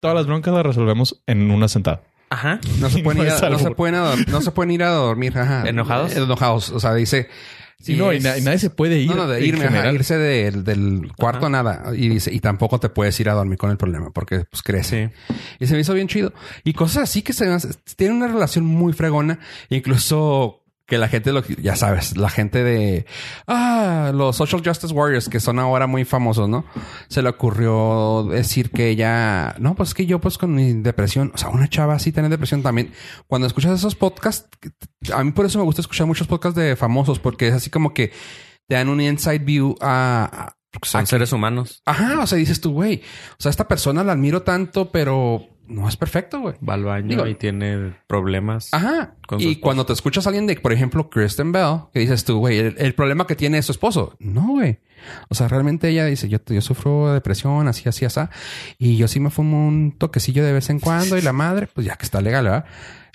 todas las broncas las resolvemos en una sentada.
Ajá.
No se, pueden
No
ir
es
a, no,
algo.
se pueden a, no se pueden ir a dormir. Ajá.
¿Enojados?
Eh, Enojados. O sea, dice.
Y no, y,
es-
na- y nadie se puede ir.
No, no, de
en
irme, ajá,
general.
irse del, del cuarto
Ajá.
nada. Y dice, y tampoco te puedes ir a dormir con el problema porque pues crece.
Sí.
Y se me hizo bien chido. Y cosas así que se me hace- tienen una relación muy fregona. Incluso que la gente, lo, ya sabes, la gente de ah, los Social Justice Warriors que son ahora muy famosos, ¿no? Se le ocurrió decir que ella, no, pues que yo, pues con mi depresión, o sea, una chava así tener depresión también. Cuando escuchas esos podcasts, a mí por eso me gusta escuchar muchos podcasts de famosos porque es así como que te dan un inside view a, a-
Son seres humanos.
Ajá, o sea, dices tú, güey, o sea, esta persona la admiro tanto, pero no es perfecto, güey.
Va al baño
Digo-
y tiene problemas.
Ajá.
Con su
Y
esposo.
cuando te escuchas a alguien de, por ejemplo, Kristen Bell, que dices tú, güey, el, el problema que tiene es su esposo. No, güey. O sea, realmente ella dice, yo, yo sufro de depresión, así, así, así. Y yo sí me fumo un toquecillo de vez en cuando y la madre, pues ya que está legal, ¿verdad?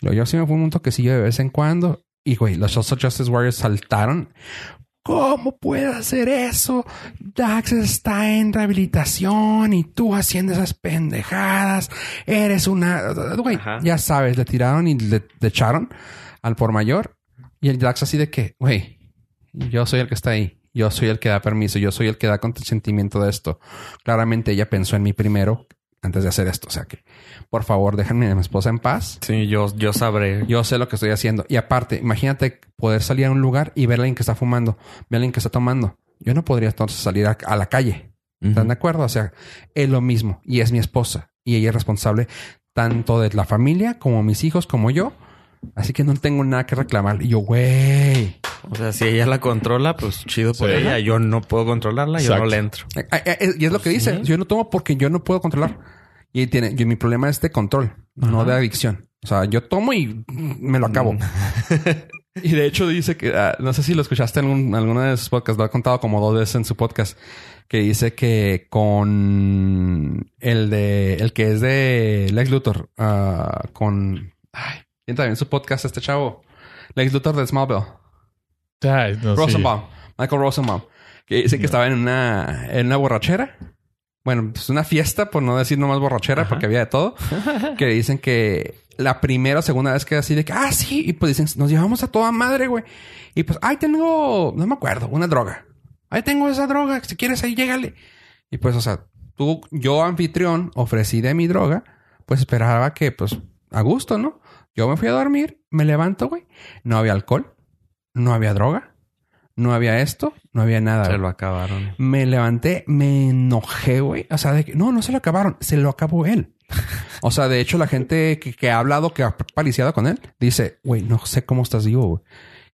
Lo- Yo sí me fumo un toquecillo de vez en cuando. Y, güey, los Social Justice Warriors saltaron. ¿Cómo puede hacer eso? Dax está en rehabilitación y tú haciendo esas pendejadas. Eres una... Güey,
Ajá.
ya sabes, le tiraron y le, le echaron al por mayor. Y el Dax así de que, güey, yo soy el que está ahí. Yo soy el que da permiso. Yo soy el que da consentimiento de esto. Claramente ella pensó en mí primero antes de hacer esto. O sea que, por favor, déjenme a mi esposa en paz.
Sí, yo, yo sabré.
Yo sé lo que estoy haciendo. Y aparte, imagínate poder salir a un lugar y ver a alguien que está fumando, ver a alguien que está tomando. Yo no podría entonces salir a, a la calle.
Ujú.
¿Están de acuerdo? O sea, es lo mismo. Y es mi esposa. Y ella es responsable tanto de la familia como mis hijos, como yo. Así que no tengo nada que reclamar. Y yo, güey.
O sea, si ella la controla, pues chido por
Sí.
ella. Yo no puedo controlarla, yo
Exacto.
no le entro.
Eh, eh, eh, Y es lo que dice.
Pues sí.
Yo no tomo porque yo no puedo controlar. Y tiene, yo, mi problema es de control, no
Ajá. Mm.
de adicción. O sea, yo tomo y me lo acabo. y de hecho dice que, ah, no sé si lo escuchaste en algún- alguna de sus podcasts, lo ha contado como dos veces en su podcast, que dice que con el de, el que es de Lex Luthor, ah, con, ay, tiene también su podcast este chavo, Lex Luthor de Smallville.
Ay, no, sí.
Rosenbaum, Michael Rosenbaum, que dice que estaba en una, en una borrachera. Bueno, pues una fiesta, por no decir nomás borrachera, porque había de todo. Que dicen que la primera o segunda vez que así de que, ah, sí, y pues dicen, nos llevamos a toda madre, güey. Y pues, ay, tengo, no me acuerdo, una droga. Ahí tengo esa droga, si quieres ahí, llégale. Y pues, o sea, tú, yo anfitrión, ofrecí de mi droga, pues esperaba que, pues, a gusto, ¿no? Yo me fui a dormir, me levanto, güey. No había alcohol, no había droga, no había esto, no había nada.
Se
güey.
lo acabaron.
Me levanté, me enojé, güey. O sea, de que no, no se lo acabaron, se lo acabó él. O sea, de hecho, la gente que, que ha hablado, que ha paliciado con él, dice, güey, no sé cómo estás vivo, güey.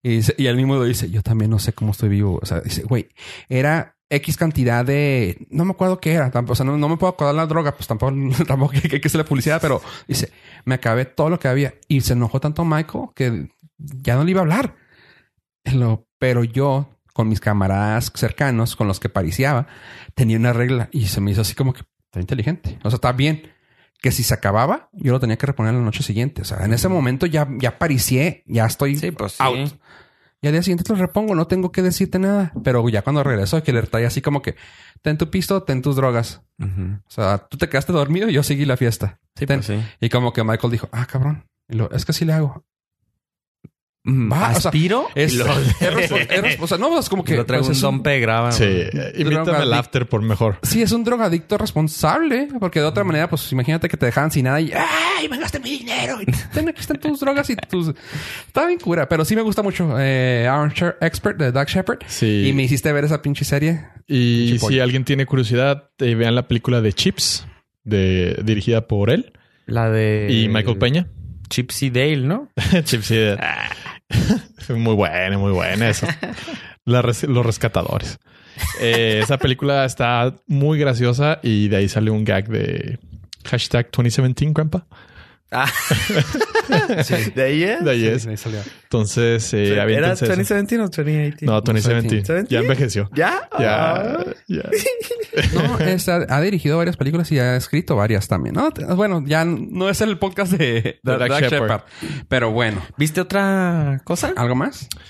Y, dice- y él mismo lo dice, yo también no sé cómo estoy vivo. güey. O sea, dice, güey, era X cantidad de... No me acuerdo qué era. tampoco- O sea, no, no me puedo acordar la droga. Pues tampoco, tampoco que, que, que sea la publicidad. Pero dice, me acabé todo lo que había. Y se enojó tanto Michael que ya no le iba a hablar. Y lo- Pero yo, con mis camaradas cercanos, con los que pariciaba, tenía una regla. Y se me hizo así como que... Está inteligente. O sea, está bien. Que si se acababa, yo lo tenía que reponer la noche siguiente. O sea, en ese momento ya, ya paricié. Ya estoy
Sí, pues sí.
out. Y al día siguiente te lo repongo, no tengo que decirte nada. Pero ya cuando regreso, que le trae así como que ten tu pisto, ten tus drogas.
Ujú.
O sea, tú te quedaste dormido y yo seguí la fiesta.
Sí,
Ten-
pues sí.
Y como que Michael dijo, ah, cabrón. Y lo, es que sí le hago. Va, o
Mm,
sea,
Aspiro.
Es,
y lo-
es respon- es respon- o sea, no, es como que
eh, lo traigo
pues,
un
es un-
dompe de grava.
Sí,
güey.
eh, invítame al after por mejor.
Sí, es un drogadicto responsable, porque de otra manera, pues imagínate que te dejaban sin nada y ¡ay! Me gasté mi dinero. Y ten, aquí están tus drogas y tus. Está bien cura, pero sí me gusta mucho eh, Armchair Expert de Doug Shepard.
Sí.
Y me hiciste ver esa pinche serie.
Y
Pinche
si
pollo.
alguien tiene curiosidad, eh, vean la película de Chips, de, dirigida por él
La de.
y Michael Peña.
Chipsy Dale, ¿no?
Chips y de-
Ah.
muy buena, muy buena eso. La res- los rescatadores. Eh, esa película está muy graciosa y de ahí sale un gag de hashtag 2017, grandpa.
De ahí es.
De ahí es.
Ahí salió.
Entonces, eh,
¿Era
aviéntense eso.
2017 o 2018?
No, 2017.
2017.
Ya envejeció.
¿Ya? Ah.
Ya, ya.
No, es- ha, ha dirigido varias películas y ha escrito varias también. ¿no? Te- Bueno, ya no es el podcast de, de
Doug
Doug
Shepard.
Shepard. Pero bueno,
¿Viste otra cosa?
¿algo más?
Ah,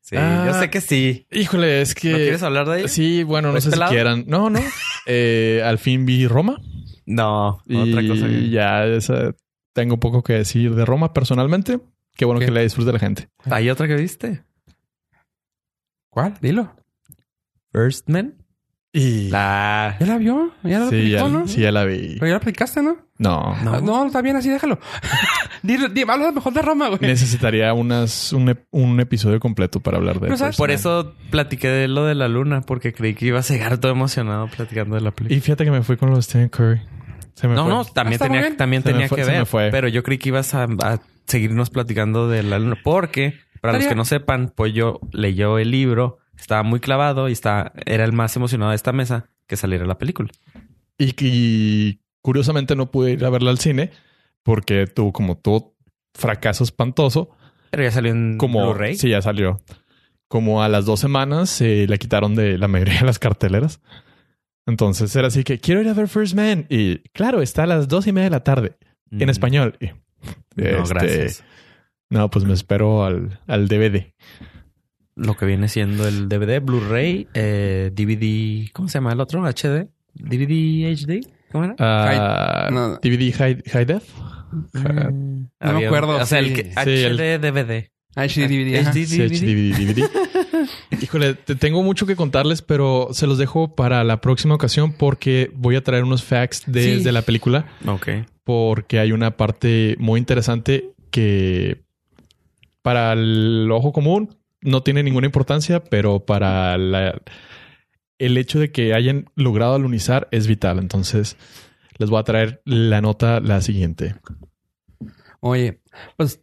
Sí,
Ah.
yo sé que sí.
Híjole, es que.
¿No quieres hablar de ella? este
Sí, bueno, no
¿Ves
sé
pelado?
si quieran. No, no. Eh, al fin vi Roma.
No,
Y
otra cosa. que-
ya esa- tengo poco que decir de Roma personalmente. Qué bueno
¿Qué?
que la disfrute la gente.
¿Hay otra que viste?
¿Cuál? Dilo.
First Man.
Y
La...
¿Ya la vio? ¿Ya la
sí,
platicó,
ya,
no?
sí, ya la vi.
Pero ya la platicaste, ¿no?
No.
No.
Ah, No, está bien así, déjalo. Dilo, di- habla mejor de Roma, güey.
Necesitaría unas, un, ep- un episodio completo para hablar de
Pero
eso.
sabes-
Por eso platiqué de lo de la luna, porque creí que iba a llegar todo emocionado platicando de la película.
Y fíjate que me fui con los Stan Curry. Se me
No,
fue.
no, también
Está muy
tenía,
bien.
también
Se me
tenía
fue-
que
se me
ver.
fue.
Pero yo creí que ibas a, a seguirnos platicando de la luna. Porque, para los
Estaría-
que no sepan, Pollo leyó el libro, estaba muy clavado y estaba, era el más emocionado de esta mesa que saliera la película.
Y, y curiosamente no pude ir a verla al cine porque tuvo como todo fracaso espantoso.
Pero ya salió en
Como
Blu-ray.
sí, ya salió. Como a las dos semanas eh, la quitaron de la mayoría de las carteleras. Entonces era así que quiero ir a ver First Man. Y claro, está a las dos y media de la tarde
Mm.
en español. Y,
No,
este,
gracias.
No, pues me espero al, al DVD.
Lo que viene siendo el DVD, Blu-ray, eh, DVD, ¿cómo se llama el otro? HD, DVD HD, ¿cómo era?
Ah,
High- no.
DVD High, high Def. Ah,
no me
Mm, Había un-
acuerdo,
O sea, el
sí.
que-
Sí,
HD DVD.
HDDVD, ajá.
HD.
Sí, DVD, DVD. Híjole, te tengo mucho que contarles, pero se los dejo para la próxima ocasión porque voy a traer unos facts desde
Sí.
la película
Ok.
porque hay una parte muy interesante que para el ojo común no tiene ninguna importancia, pero para la- el hecho de que hayan logrado alunizar es vital. Entonces, les voy a traer la nota la siguiente.
Oye, pues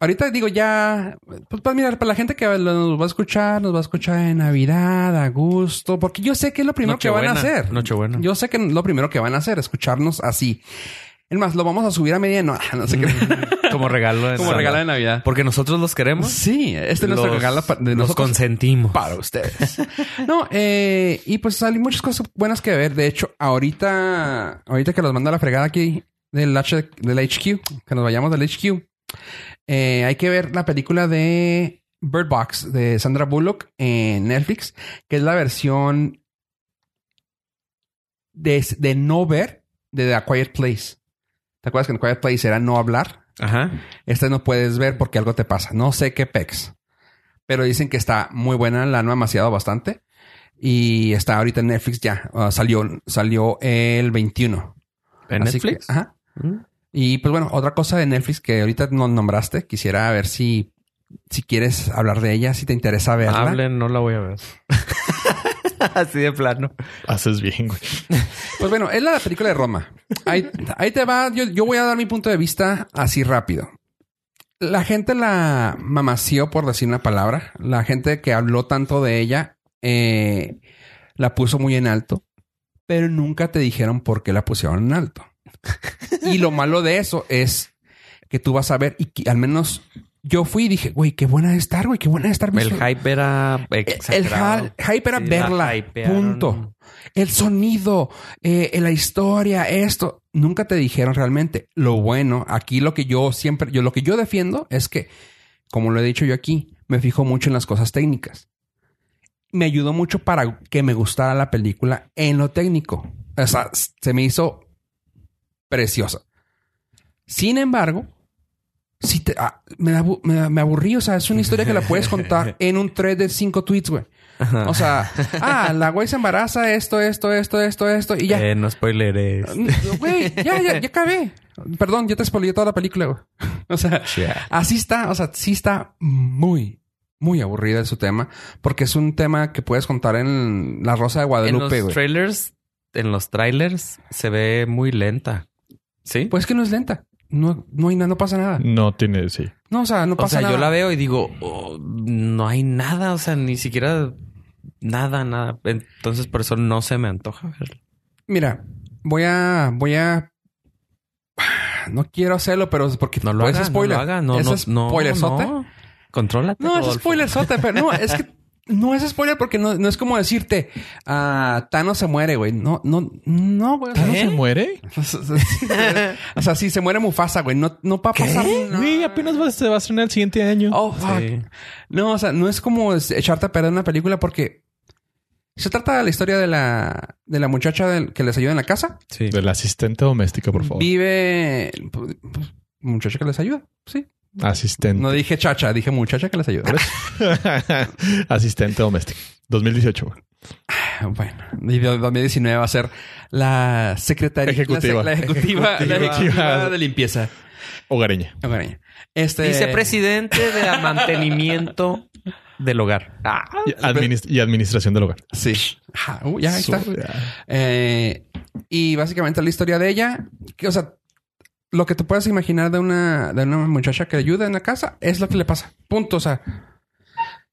ahorita digo ya, pues, pues mira, para la gente que lo- nos va a escuchar, nos va a escuchar en Navidad, a gusto, porque yo sé que es lo primero que van a
Nochebuena,
hacer.
Nochebuena.
Yo sé que lo primero que van a hacer, escucharnos así. Es más, lo vamos a subir a medianoche, no sé qué.
Mm, Como regalo de
Como
Navidad.
regalo de Navidad.
Porque nosotros los queremos.
Sí, este es nuestro
Los-
regalo pa- de
los
nosotros.
consentimos.
para ustedes. No, eh, y pues hay muchas cosas buenas que ver. De hecho, ahorita, ahorita que los mando a la fregada aquí del, H- del HQ, que nos vayamos del HQ, eh, hay que ver la película de Bird Box de Sandra Bullock en Netflix, que es la versión de, de no ver de The Quiet Place. ¿Te acuerdas que en Quiet Place era no hablar?
Ajá.
Este no puedes ver porque algo te pasa. No sé qué pex. Pero dicen que está muy buena, la han demasiado bastante. Y está ahorita en Netflix ya. Ah, salió, salió el 21.
En
Así
Netflix.
que- ajá.
Mm.
Y pues bueno, otra cosa de Netflix que ahorita nos nombraste, quisiera ver si, si quieres hablar de ella, si te interesa verla.
Hablen, no la voy a ver. Así de plano.
Haces bien, güey.
Pues bueno, es la película de Roma. Ahí, ahí te va. Yo, yo voy a dar mi punto de vista así rápido. La gente la mamació, por decir una palabra. La gente que habló tanto de ella eh, la puso muy en alto, pero nunca te dijeron por qué la pusieron en alto. y lo malo de eso es que tú vas a ver, y que, al menos yo fui y dije, güey, qué buena de estar, güey, qué buena de estar. Me
El
suena-
hype era
el
exagerado.
ha- hype era
Sí, la
verla.
hypearon.
Punto. El sonido, eh, eh, la historia, esto. Nunca te dijeron realmente. Lo bueno, aquí lo que yo siempre, yo lo que yo defiendo es que, como lo he dicho yo aquí, me fijo mucho en las cosas técnicas. Me ayudó mucho para que me gustara la película en lo técnico. O sea, s- se me hizo preciosa. Sin embargo, sí te- ah, me, abu- me- me aburrí. O sea, es una historia que la puedes contar en un thread de cinco tweets, güey.
Ajá.
O sea, ah, la güey se embaraza, esto, esto, esto, esto, esto, y ya. Mm,
Eh, no spoileré.
Güey, ya, ya, ya acabé. Perdón, yo te spoileé toda la película, güey. O sea, así está, o sea, sí está muy, muy aburrida su tema, porque es un tema que puedes contar en La Rosa de
En
Guadalupe,
los
güey.
trailers, en los trailers se ve muy lenta. ¿Sí?
Pues que no es lenta. No, no hay nada, no pasa nada.
No tiene, sí.
No, o sea, no
Mm. o
pasa
sea,
nada.
yo la veo y digo, "Oh, no hay nada, o sea, ni siquiera nada, nada. Entonces, por eso no se me antoja verla.
Mira, voy a, voy a. No quiero hacerlo, pero es porque
Ah, No lo
pues,
haga,
es spoiler.
no lo haga. No,
¿Es
no, no,
spoilerzote?
no. Contrólate,
No, es
Rodolfo.
spoiler sota, pero no, es que no es spoiler porque no, no es como decirte, ah, Thanos se muere, güey. No, no, no, güey. O sea,
¿No
¿Eh?
se muere?
no sé. O sea, sí, se muere Mufasa, güey. No, no va a pasar nada.
Güey, apenas va, se va a estrenar el siguiente año.
Oh, fuck.
Sí.
No, o sea, no es como es- echarte a perder una película porque se trata de la historia de la, de la muchacha del- que les ayuda en la casa.
Sí.
Del asistente doméstica, por favor.
Vive... pues, muchacha que les ayuda, sí.
Asistente.
No dije chacha, dije muchacha que les ayuda.
asistente doméstica. 2018, güey.
Bueno, y de 2019 va a ser la secretaria
Ejecutiva.
La, ejecutiva, la ejecutiva
Ejecutiva.
de limpieza.
Hogareña.
Ok, niña. Este,
Vicepresidente de mantenimiento del hogar.
Ah.
Y, administ- y administración del hogar.
Sí. Ajá. Uh, ya ahí está.
Su- ya.
Eh, y básicamente la historia de ella, que, o sea, lo que te puedas imaginar de una, de una muchacha que ayuda en la casa es lo que le pasa. Punto. O sea,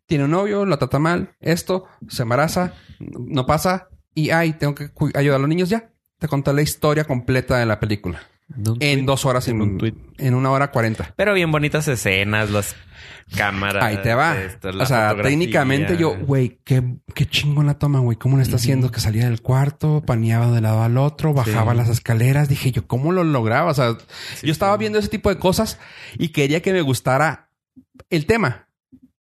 tiene un novio, lo trata mal, esto, se embaraza, no pasa y ay, tengo que cu- ayudar a los niños ya. Te conté la historia completa de la película. En dos horas, en,
en un tuit.
en una hora cuarenta.
Pero bien bonitas escenas, las cámaras.
Ahí te va.
esto, la
o sea,
fotografía.
técnicamente yo, güey, qué, qué chingón la toma, güey. ¿Cómo le está haciendo? Que salía del cuarto, paneaba de lado al otro, bajaba
Sí.
las escaleras. Dije yo, ¿cómo lo lograba? O sea,
Sí,
yo estaba
sí.
viendo ese tipo de cosas y quería que me gustara el tema,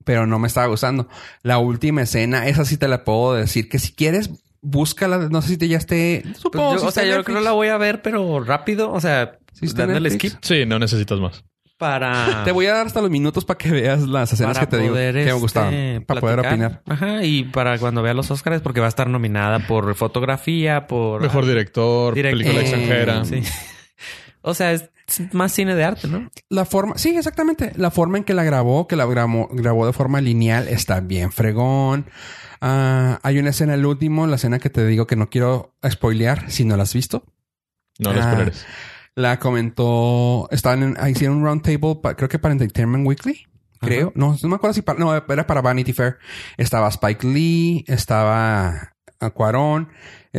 pero no me estaba gustando. La última escena, esa sí te la puedo decir, que si quieres, búscala. No sé si te ya esté...
Pues
Supongo,
yo-
si
o
está
sea,
en
yo
Netflix.
creo que la voy a ver, pero rápido. O sea,
Sí está en
dándole
Netflix.
skip
Sí, no necesitas más.
para.
Te voy a dar hasta los minutos para que veas las escenas que te digo que me
Ah. este,
gustaron. Para poder
platicar.
opinar.
Ajá, y para cuando vea los Oscars, porque va a estar nominada por fotografía, por
Mejor director,
director,
película
Eh,
extranjera.
sí. o sea, es más cine de arte, ¿no?
La forma, sí, exactamente. La forma en que la grabó, que la grabó, grabó de forma lineal, está bien fregón. Ah, hay una escena, el último, la escena que te digo que no quiero spoilear si no la has visto.
No les
Ah.
poneres.
La comentó, estaban en, ah, hicieron un round table, pa- creo que para Entertainment Weekly. Creo, no, no me acuerdo si para, no, era para Vanity Fair. Estaba Spike Lee, estaba a Cuarón,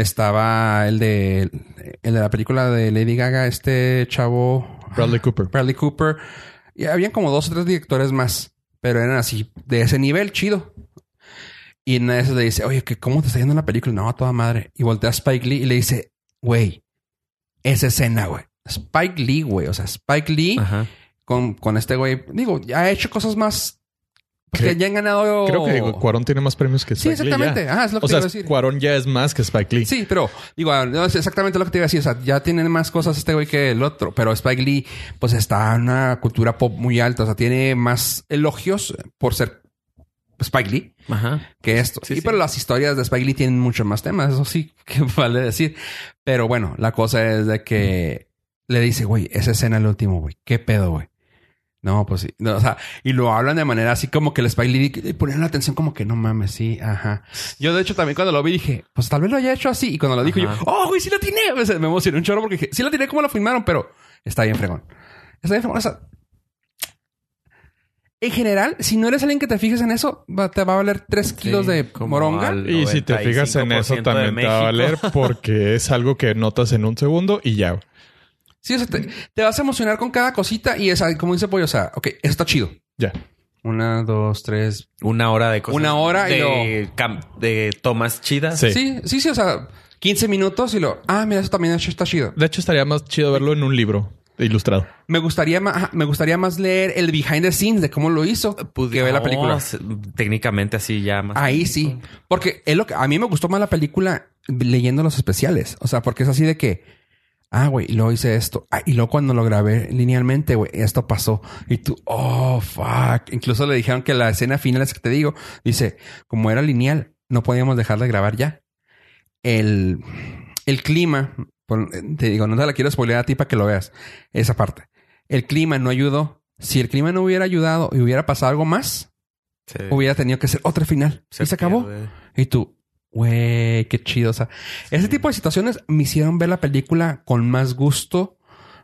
estaba el de, el de la película de Lady Gaga, este chavo.
Bradley Cooper.
Bradley Cooper. Y habían como dos o tres directores más, pero eran así, de ese nivel chido. Y en eso le dice, oye, que ¿cómo te está yendo la película? No, a toda madre. Y voltea a Spike Lee y le dice, güey, esa escena, güey. Spike Lee, güey. O sea, Spike Lee
Ajá.
con, con este güey. Digo, ya ha hecho cosas más pues, que
Creo-
ya han ganado.
Creo que Cuarón tiene más premios que
Sí,
Spike Lee, ya.
exactamente. Ah, es lo que
O
te
sea,
iba a decir.
Cuarón ya es más que Spike Lee.
Sí, pero digo, ah, no, es exactamente lo que te iba a decir. O sea, ya tienen más cosas este güey que el otro. Pero Spike Lee, pues está en una cultura pop muy alta. O sea, tiene más elogios por ser Spike Lee
Ajá.
que esto.
Sí,
y
sí.
pero las historias de Spike Lee tienen muchos más temas. Eso sí que vale decir. Pero bueno, la cosa es de que le dice, güey, esa escena es la última, güey. ¿Qué pedo, güey? No, pues sí. No, o sea, y lo hablan de manera así como que el Spike Lee y ponían la atención como que no mames, sí, ajá. Yo, de hecho, también cuando lo vi dije, pues tal vez lo haya hecho así. Y cuando lo dijo,
Ajá.
yo, oh, güey, sí la tiene. me emocioné un chorro porque dije, sí la tiene como lo filmaron, pero está bien fregón. Está bien fregón. O sea, en general, si no eres alguien que te fijes en eso, va- te va a valer tres kilos de moronga.
Y si te fijas en eso, también te va a valer porque es algo que notas en un segundo y ya.
Sí, o sea, te, te vas a emocionar con cada cosita y es como dice Pollo, o sea, ok, eso está chido.
Ya.
Una, dos, tres.
Una hora de cosas.
Una hora y
de, cam- de tomas chidas.
Sí.
Sí, sí, sí, o sea, 15 minutos y lo, ah, mira, eso también está chido.
De hecho, estaría más chido verlo en un libro ilustrado.
Me gustaría más, ajá, me gustaría más leer el behind the scenes de cómo lo hizo que ver la
No,
película.
se- Pues, técnicamente así ya más.
Ahí sí, porque es lo que a mí me gustó más la película leyendo los especiales, o sea, porque es así de que ah, güey, y luego hice esto, Ah, y luego cuando lo grabé linealmente, güey, esto pasó y tú, oh, fuck. Incluso le dijeron que la escena final es que te digo, dice, como era lineal, no podíamos dejar de grabar ya. El el clima, por- te digo, no te la quiero spoilear a ti para que lo veas, esa parte. El clima no ayudó. Si el clima no hubiera ayudado y hubiera pasado algo más,
se-
hubiera tenido que ser otra final. y se acabó.
pierde.
Y tú, güey, qué chido. O sea, ese tipo de situaciones me hicieron ver la película con más gusto.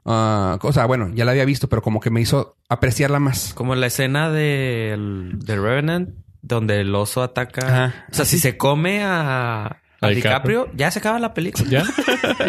Ah, o sea, bueno, ya la había visto, pero como que me hizo apreciarla más.
Como la escena del de Revenant, donde el oso ataca.
Ajá.
O sea, si se come a, Ah, a
Al
DiCaprio, ya se acaba la película.
Ya.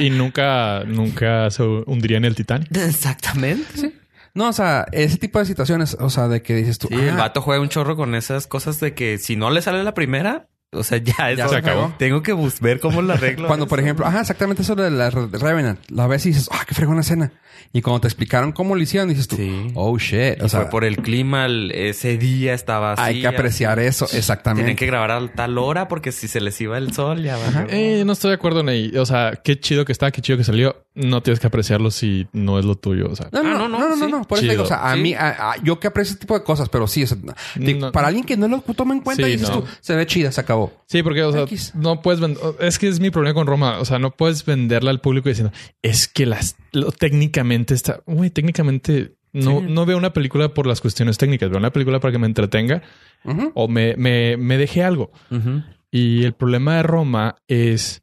y nunca, nunca se hundiría en el Titanic.
Exactamente. Sí,
No, o sea, ese tipo de situaciones, o sea, de que dices tú,
el
ah,
vato juega un chorro con esas cosas de que si no le sale la primera, o sea, ya, eso-
se acabó.
Tengo que bus- ver cómo la arreglo.
cuando por
eso.
ejemplo, ajá, exactamente eso de la Re- Revenant, la ves y dices, ah, qué fregona escena. Y cuando te explicaron cómo lo hicieron, dices tú,
Sí.
oh shit.
Y
O sea,
fue por el clima, el- ese día estaba así.
hay que apreciar eso,
Tienen
exactamente.
que grabar a tal hora porque si se les iba el sol, ya va.
Eh, no estoy de acuerdo, Ney. O sea, qué chido que está, qué chido que salió. No tienes que apreciarlo si no es lo tuyo. O sea,
No, no,
Ah, no,
no, no,
no,
no,
sí.
no. Por eso te digo, o sea, a
Sí.
mí, a- a- yo que aprecio ese tipo de cosas, pero sí, o sea, te-
No.
para alguien que no lo toma en cuenta,
Sí,
dices
no.
tú, se ve chida, se acabó.
Sí, porque, o sea,
X.
no puedes vender. Es que es mi problema con Roma. O sea, no puedes venderla al público diciendo es que las lo- técnicamente está. Güey, técnicamente no,
Sí.
no veo una película por las cuestiones técnicas. Veo una película para que me entretenga
Ujú.
o me, me, me deje algo.
Ujú.
Y el problema de Roma es.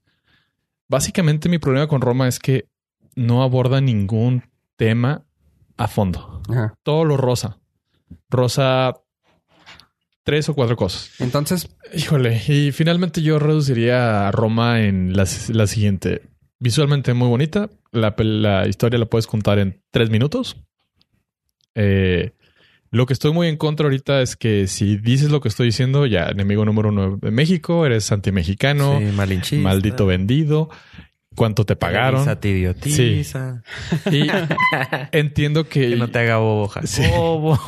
Básicamente, mi problema con Roma es que no aborda ningún tema a fondo.
Ajá.
Todo lo rosa. Rosa tres o cuatro cosas.
Entonces,
Híjole, y finalmente yo reduciría a Roma en la, la siguiente. Visualmente muy bonita. La, pel- la historia la puedes contar en tres minutos. Eh, lo que estoy muy en contra ahorita es que si dices lo que estoy diciendo, ya enemigo número uno de México, eres antimexicano,
Sí, malinchista.
maldito vendido, cuánto te pagaron.
Te idiotiza.
Y entiendo que,
Que no te haga bobo, ja-
Sí.
bobo.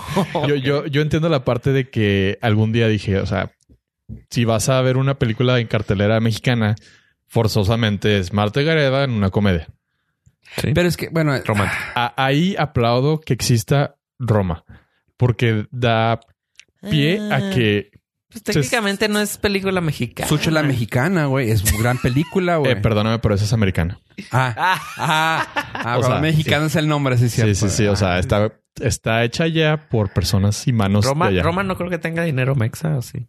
yo, yo, yo entiendo la parte de que algún día dije, o sea, si vas a ver una película en cartelera mexicana, forzosamente es Marta Gareda en una comedia.
Sí.
pero es que, bueno,
Romántico.
A- ahí aplaudo que exista Roma, porque da pie
Ah.
a que... eh,
Pues, técnicamente no es película mexicana.
Sucho la mexicana, güey, es gran película, güey.
Eh, perdóname, pero esa es americana.
Ah,
Ah,
ah, ah,
O
pero
sea,
mexicana es el nombre, sí,
Sí,
cierto.
pues,
sí, sí. O
ah,
sea, está, está hecha ya por personas y manos
Roma,
de allá. Ah.
Roma no creo que tenga dinero mexa, ¿o sí?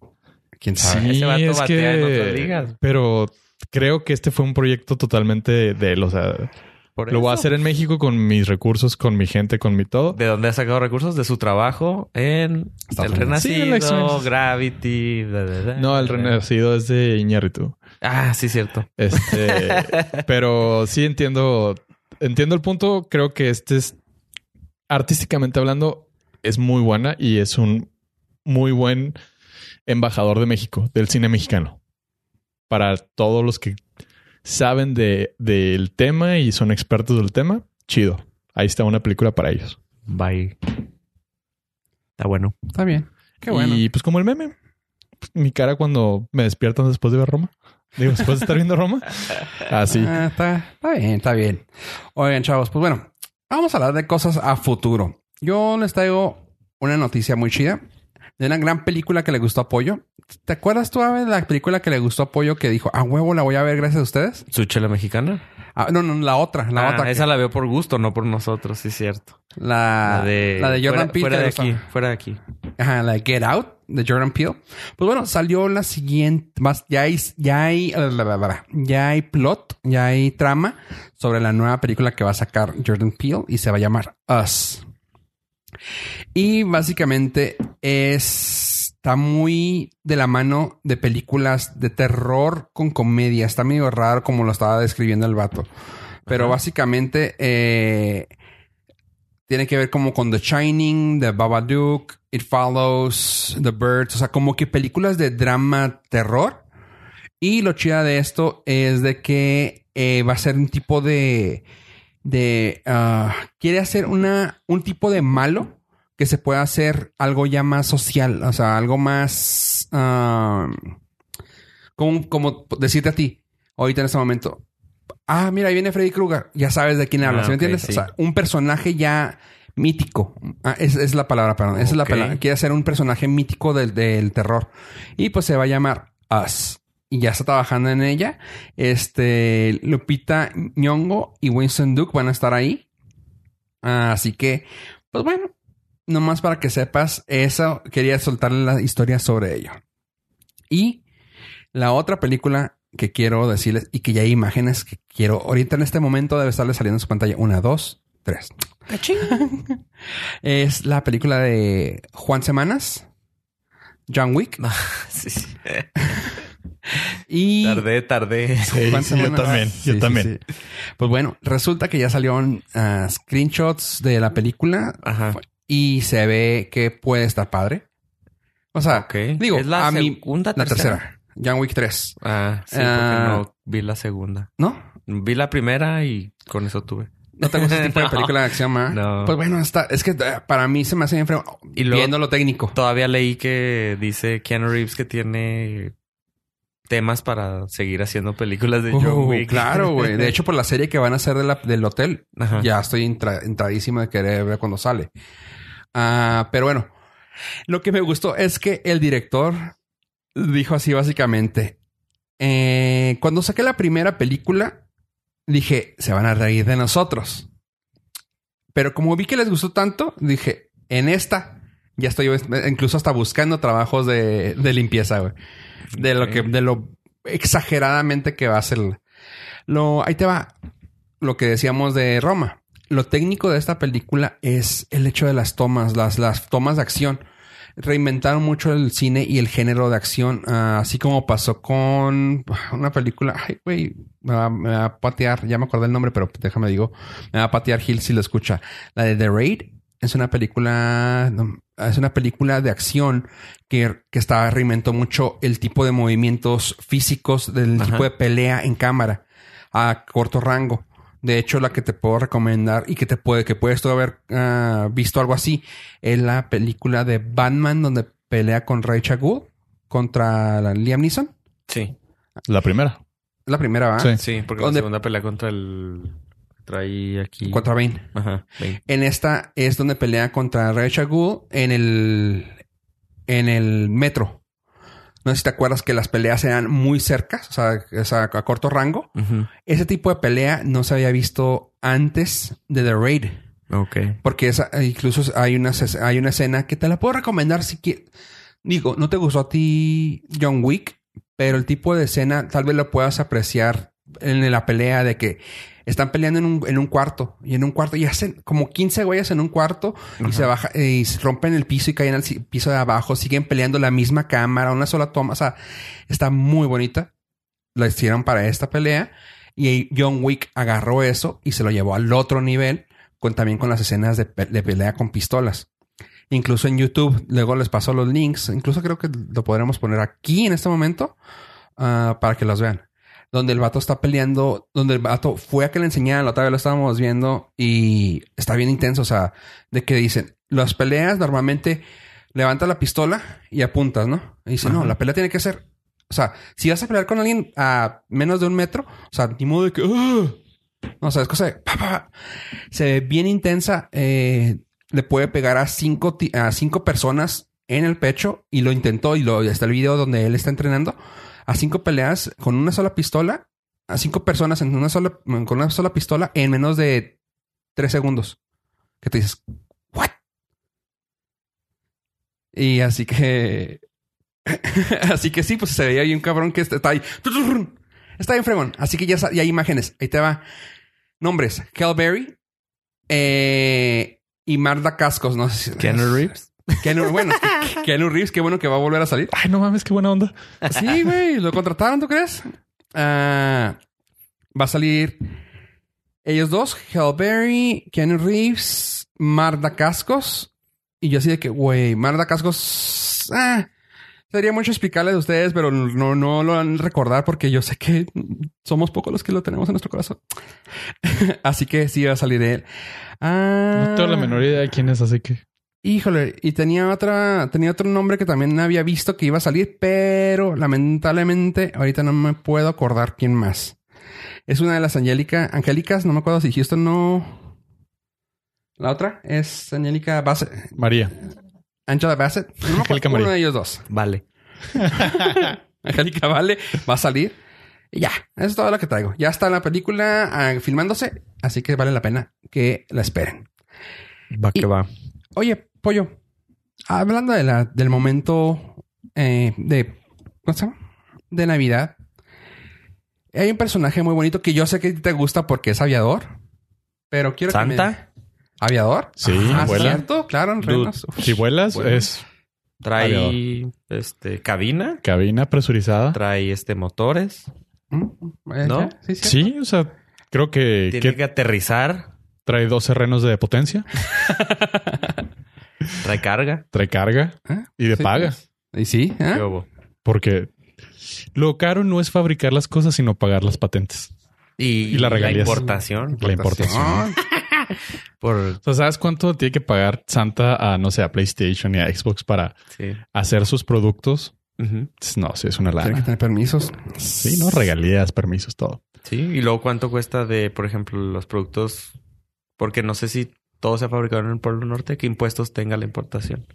quién sabe.
Sí,
Ese vato
es
batea en otras
que...
ligas.
Pero creo que este fue un proyecto totalmente de él. O sea,
Por
lo voy a
eso.
hacer en México con mis recursos, con mi gente, con mi todo.
¿De dónde ha sacado recursos? De su trabajo en
Estados
El
Unidos.
Sí, en la
Renacido,
Excelsior.
Gravity. bla, bla, bla.
No, el renacido es de Iñárritu.
Ah, sí, cierto.
Este, pero sí entiendo, entiendo el punto. Creo que este es, artísticamente hablando, es muy buena y es un muy buen embajador de México, del cine mexicano. Para todos los que saben de, del tema y son expertos del tema, chido. Ahí está una película para ellos.
Bye. Está bueno.
Está bien. Qué bueno.
Y pues como el meme. Pues, Mi cara cuando me despiertan después de ver Roma. Digo, después de estar viendo Roma. Así.
Ah, está, está bien, está bien. Oigan, chavos, pues bueno, vamos a hablar de cosas a futuro. Yo les traigo una noticia muy chida de una gran película que le gustó apoyo. ¿Te acuerdas tú, Ave, de la película que le gustó apoyo que dijo, a huevo la voy a ver gracias a ustedes?
¿Su chela mexicana?
Ah, no, no, la otra, la
Ah,
otra.
esa
que-
la veo por gusto, no por nosotros, sí es cierto.
la, Ah, la de, Jordan
fuera, fuera de
Peele.
aquí, fuera de aquí.
Ajá, la de Get Out de Jordan Peele. Pues bueno, salió la siguiente. Más, ya hay, ya hay, ya hay plot, ya hay trama sobre la nueva película que va a sacar Jordan Peele y se va a llamar Us. Y básicamente es- está muy de la mano de películas de terror con comedia. Está medio raro como lo estaba describiendo el vato. Pero
Ajá.
básicamente eh, tiene que ver como con The Shining, The Babadook, It Follows, The Birds. O sea, como que películas de drama, terror. Y lo chida de esto es de que eh, va a ser un tipo de... de ah, quiere hacer una, un tipo de malo que se pueda hacer algo ya más social. O sea, algo más... ah, como, como decirte a ti, ahorita en este momento, ah, mira, ahí viene Freddy Krueger. Ya sabes de quién hablas,
Ah,
¿sí ¿me
ok,
entiendes?
sí.
O sea, un personaje ya mítico. Ah, es, es la palabra, perdón. Esa es la
Ok.
palabra. Quiere hacer un personaje mítico del, del terror. Y pues se va a llamar Us. Y ya está trabajando en ella. Este, Lupita Nyongo y Winston Duke van a estar ahí. Ah, Así que, pues bueno, nomás para que sepas, eso quería soltarle la historia sobre ello. Y la otra película que quiero decirles y que ya hay imágenes que quiero ahorita en este momento debe estarle saliendo en su pantalla. Una, dos, tres. es la película de Juan Semanas, John Wick
Sí, sí.
y
Tardé, tardé.
Sí,
Juan
sí, yo
Semanas.
también,
Sí,
yo
sí,
también.
sí. Pues bueno, resulta que ya salieron ah, screenshots de la película
Ajá.
y se ve que puede estar padre. O sea,
ok.
digo,
¿Es la
a mí-
segunda,
la tercera, John Wick 3,
Ah, sí,
Ah.
porque no vi la segunda.
¿no?
Vi la primera y con eso tuve.
No tengo ese tipo de
No.
película de acción, ¿ah?
No.
Pues bueno, está, es que eh, para mí se me hace bien feo
Y luego-
viendo lo técnico.
Todavía leí que dice Keanu Reeves que tiene temas para seguir haciendo películas de John
Uh,
Wick.
Claro, güey. De hecho, por la serie que van a hacer de la- del hotel,
Ajá.
ya estoy entra- entradísimo de querer ver cuando sale. Ah, pero bueno, lo que me gustó es que el director dijo así básicamente. eh, cuando saqué la primera película, dije, se van a reír de nosotros. Pero como vi que les gustó tanto, dije, en esta ya estoy incluso hasta buscando trabajos de, de limpieza, güey. De lo
Ok.
que, de lo exageradamente que va a ser. Lo, ahí te va lo que decíamos de Roma. Lo técnico de esta película es el hecho de las tomas, las, las tomas de acción. Reinventaron mucho el cine y el género de acción, ah, así como pasó con una película. Ay, güey, me va, me va a patear, ya me acordé el nombre, pero déjame digo, me va a patear Gil si lo escucha. La de The Raid es una película, no, es una película de acción que, que está reinventó mucho el tipo de movimientos físicos del
Ajá.
tipo de pelea en cámara a corto rango. De hecho, la que te puedo recomendar y que te puede, que puedes tú haber ah, visto algo así, es la película de Batman donde pelea con Rachel Gould contra la Liam Neeson.
Sí,
La primera.
La primera, ¿va?
Sí.
sí, porque
¿Dónde?
la segunda pelea contra el traí aquí.
Contra Bane.
Ajá. veinte.
En esta es donde pelea contra Rachel Gould en el, en el metro. No sé si te acuerdas que las peleas eran muy cercas, o sea, o sea, a corto rango.
Ujú.
Ese tipo de pelea no se había visto antes de The Raid.
Ok.
Porque esa, incluso hay una, ses- hay una escena que te la puedo recomendar si quieres. Digo, no te gustó a ti John Wick, pero el tipo de escena tal vez lo puedas apreciar en la pelea de que están peleando en un, en un cuarto y en un cuarto y hacen como 15 güeyes en un cuarto y se baja y se rompen el piso y caen al si- piso de abajo, siguen peleando la misma cámara, una sola toma, o sea, está muy bonita. La hicieron para esta pelea y ahí John Wick agarró eso y se lo llevó al otro nivel con también con las escenas de, pe- de pelea con pistolas. Incluso en YouTube, luego les paso los links. Incluso creo que lo podremos poner aquí en este momento ah, para que los vean. Donde el vato está peleando, donde el vato fue a que le enseñaran, la otra vez lo estábamos viendo y está bien intenso. O sea, de que dicen, las peleas normalmente levanta la pistola y apuntas, ¿no? Y dice, no,
Ajá.
la pelea tiene que ser. O sea, si vas a pelear con alguien a menos de un metro, o sea, ni modo de que, "Ugh". no, o sea, es cosa de, pa, pa, pa. se ve bien intensa. eh, le puede pegar a cinco, ti- a cinco personas en el pecho y lo intentó y lo, está el video donde él está entrenando a cinco peleas con una sola pistola a cinco personas en una sola, con una sola pistola en menos de tres segundos. Que te dices, ¿what? Y así que. así que sí, pues se veía ahí un cabrón que este está ahí. Está bien, fregón. Así que ya, sa- ya hay imágenes. Ahí te va. Nombres: Calberry eh, y Marta Cascos. No sé si.
Keanu Reeves.
Keanu- bueno, Keanu Reeves, qué bueno que va a volver a salir.
Ay, no mames, qué buena onda.
Sí, güey, lo contrataron, ¿tú crees? Ah, va a salir ellos dos, Hellberry, Keanu Reeves, Marda Cascos. Y yo así de que, güey, Marda Cascos... ah, sería mucho explicarles a ustedes, pero no, no lo han recordar porque yo sé que somos pocos los que lo tenemos en nuestro corazón. así que sí va a salir él. Ah,
No tengo la menor idea de quién es, así que.
Híjole, y tenía otra, tenía otro nombre que también había visto que iba a salir, pero lamentablemente ahorita no me puedo acordar quién más. Es una de las Angélica, Angélicas, no me acuerdo si Houston no. La otra es Angélica Bassett,
María.
Angela Bassett, no me acuerdo,
Angélica
uno
María.
de ellos dos.
Vale.
Angélica Vale va a salir. Y ya, eso es todo lo que traigo. Ya está la película ah, filmándose, así que vale la pena que la esperen.
Va
Y-
que va.
Oye, pollo, hablando de la, del momento eh, de. ¿Cómo se llama? De Navidad. Hay un personaje muy bonito que yo sé que te gusta porque es aviador. Pero quiero que. me-
Santa
¿Aviador?
Sí,
Ah,
vuela.
¿cierto? Claro, en
Dude,
renos. Uf,
si vuelas,
Vuela.
es
trae este cabina,
cabina presurizada.
trae este motores,
mm, eh,
¿No?
Sí, cierto.
Sí, o sea, creo que,
tiene
que
que aterrizar,
trae 12 renos de potencia,
trae carga.
trae carga
¿Eh?
y de
Sí,
paga.
Y sí, ¿eh?
¿Qué hubo?
Porque lo caro no es fabricar las cosas, sino pagar las patentes.
Y,
Y la regalías.
importación.
La importación.
Ah,
Por,
O sea, ¿sabes cuánto tiene que pagar Santa a, no sé, a PlayStation y a Xbox para
sí.
hacer sus productos?
Ujú.
No, sí, es una
Tiene que
lana.
tener permisos.
Sí, no, regalías, permisos, todo.
Sí, y luego cuánto cuesta de, por ejemplo, los productos, porque no sé si todo se ha fabricado en el Polo Norte, qué impuestos tenga la importación.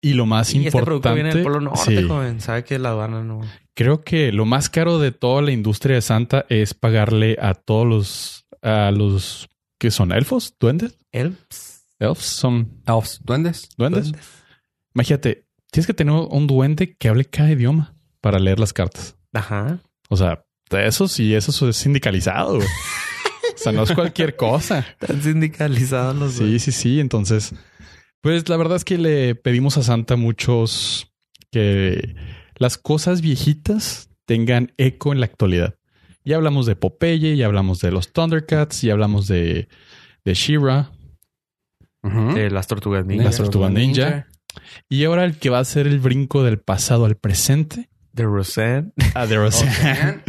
Y lo más
y este producto
importante.
viene del Polo Norte,
sí,
joven, sabe que la aduana no.
creo que lo más caro de toda la industria de Santa es pagarle a todos los, a los que son elfos, duendes.
Elps.
Elfs son
Elfs, duendes.
duendes. Imagínate, tienes que tener un duende que hable cada idioma para leer las cartas.
Ajá.
O sea, eso sí, eso es sindicalizado. güey. o sea, no es cualquier cosa.
Están sindicalizados los
Sí, sí, sí. Entonces, pues la verdad es que le pedimos a Santa muchos que las cosas viejitas tengan eco en la actualidad. Ya hablamos de Popeye, ya hablamos de los Thundercats, ya hablamos de, de She-Ra.
Ujú.
de Eh, las tortugas ninja.
Las Tortugas Ninja. Y ahora el que va a hacer el brinco del pasado al presente,
De Roseanne.
a The Rosen-
Ocean.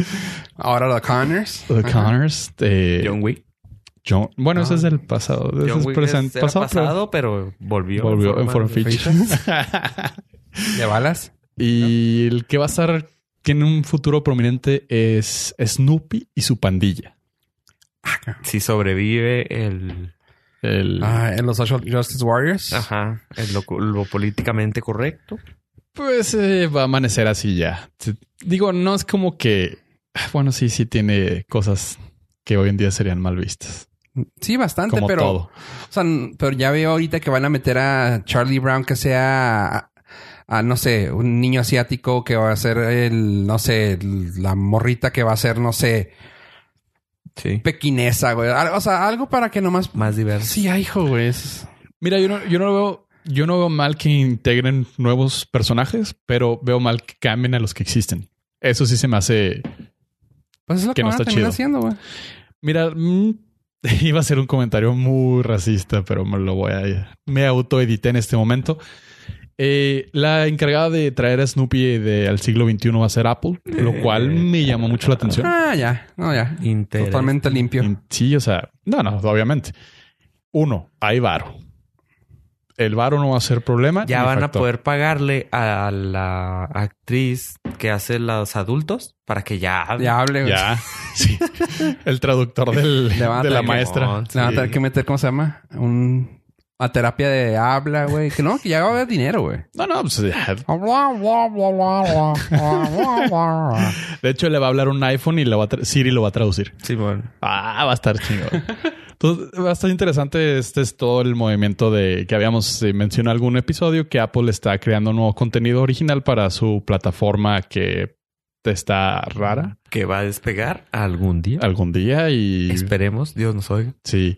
Ahora los Connors.
The
Ajá.
Connors, de
John Wick.
John- Bueno, ese
Ah.
es el pasado. ese
John
es
Wick
presen-
es- era
pasado, pero
pasado, pero volvió.
volvió en forma
de-
ficha.
De balas.
Y el que va a estar que en un futuro prominente es Snoopy y su pandilla.
Si sobrevive el...
El-
Ah, en los Social Justice Warriors.
Ajá. el lo, lo políticamente correcto.
Pues eh, va a amanecer así ya. Te- Digo, no es como que. Bueno, sí, sí tiene cosas que hoy en día serían mal vistas.
Sí, bastante,
Como
pero.
todo.
O sea, n- pero ya veo ahorita que van a meter a Charlie Brown que sea. A, a, no sé, un niño asiático que va a ser el, no sé, el- la morrita que va a ser, no sé,
Sí.
pequinesa, güey. Al- O sea, algo para que nomás.
Más diverso.
Sí, ay, hijo, güey. es-
Mira, yo no, yo no veo. Yo no veo mal que integren nuevos personajes, pero veo mal que cambien a los que existen. Eso sí se me hace.
Pues es lo que,
Que no
van a
está
terminar
chido.
haciendo, güey.
Mira, mm, iba a ser un comentario muy racista, pero me lo voy a... Me autoedité en este momento. Eh, la encargada de traer a Snoopy de- al siglo XXI va a ser Apple, lo cual me llamó mucho la atención.
Eh. Ah, ya. No, ya.
Interés.
Totalmente limpio.
Sí, o sea, no, no, obviamente. Uno, hay varo. El varo no va a ser problema.
Ya
ni
van a
factor.
poder pagarle a la actriz que hace los adultos para que ya hable.
Ya hable, güey.
Ya, sí. El traductor del-
Le van a
de
tener
la
que-
maestra.
Simón,
Le van a
sí.
tener que meter, ¿cómo se llama? Un a terapia de habla, güey. Que no, que ya va a haber dinero, güey.
No, no, pues, de hecho le va a hablar un iPhone y le va a tra- Siri lo va a traducir.
Simón.
Ah, va a estar chingón. Entonces, va a estar interesante. Este es todo el movimiento de que habíamos eh, mencionado en algún episodio que Apple está creando nuevo contenido original para su plataforma que está rara
Que va a despegar algún día.
algún día y
Esperemos, Dios nos oiga.
sí.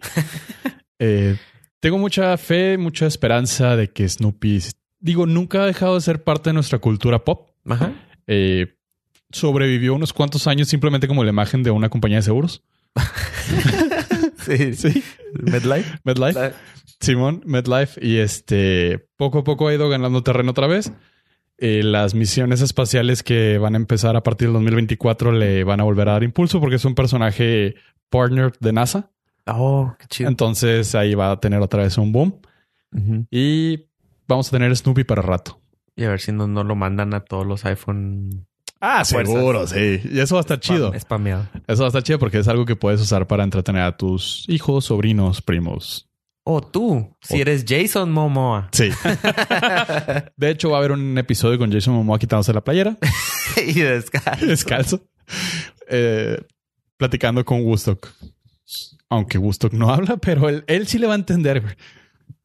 Eh, tengo mucha fe, mucha esperanza de que Snoopy, digo, nunca ha dejado de ser parte de nuestra cultura pop.
Ajá.
Eh, sobrevivió unos cuantos años simplemente como la imagen de una compañía de seguros.
Sí.
Sí,
MedLife.
MedLife. Simón, MedLife, y este poco a poco ha ido ganando terreno otra vez. Eh, las misiones espaciales que van a empezar a partir del 2024 le van a volver a dar impulso porque es un personaje partner de NASA.
Oh, qué chido.
Entonces ahí va a tener otra vez un boom
Ujú.
y vamos a tener Snoopy para rato.
Y a ver si no, no lo mandan a todos los iPhone
Ah,
seguro,
sí. Y eso va a estar chido.
spam- spameado.
Eso va a estar chido porque es algo que puedes usar para entretener a tus hijos, sobrinos, primos.
O tú, si
O-
eres Jason Momoa.
Sí. De hecho, va a haber un episodio con Jason Momoa quitándose la playera.
y descarga.
descalzo, eh, platicando con Woodstock. Aunque Woodstock no habla, pero él, él sí le va a entender. güey.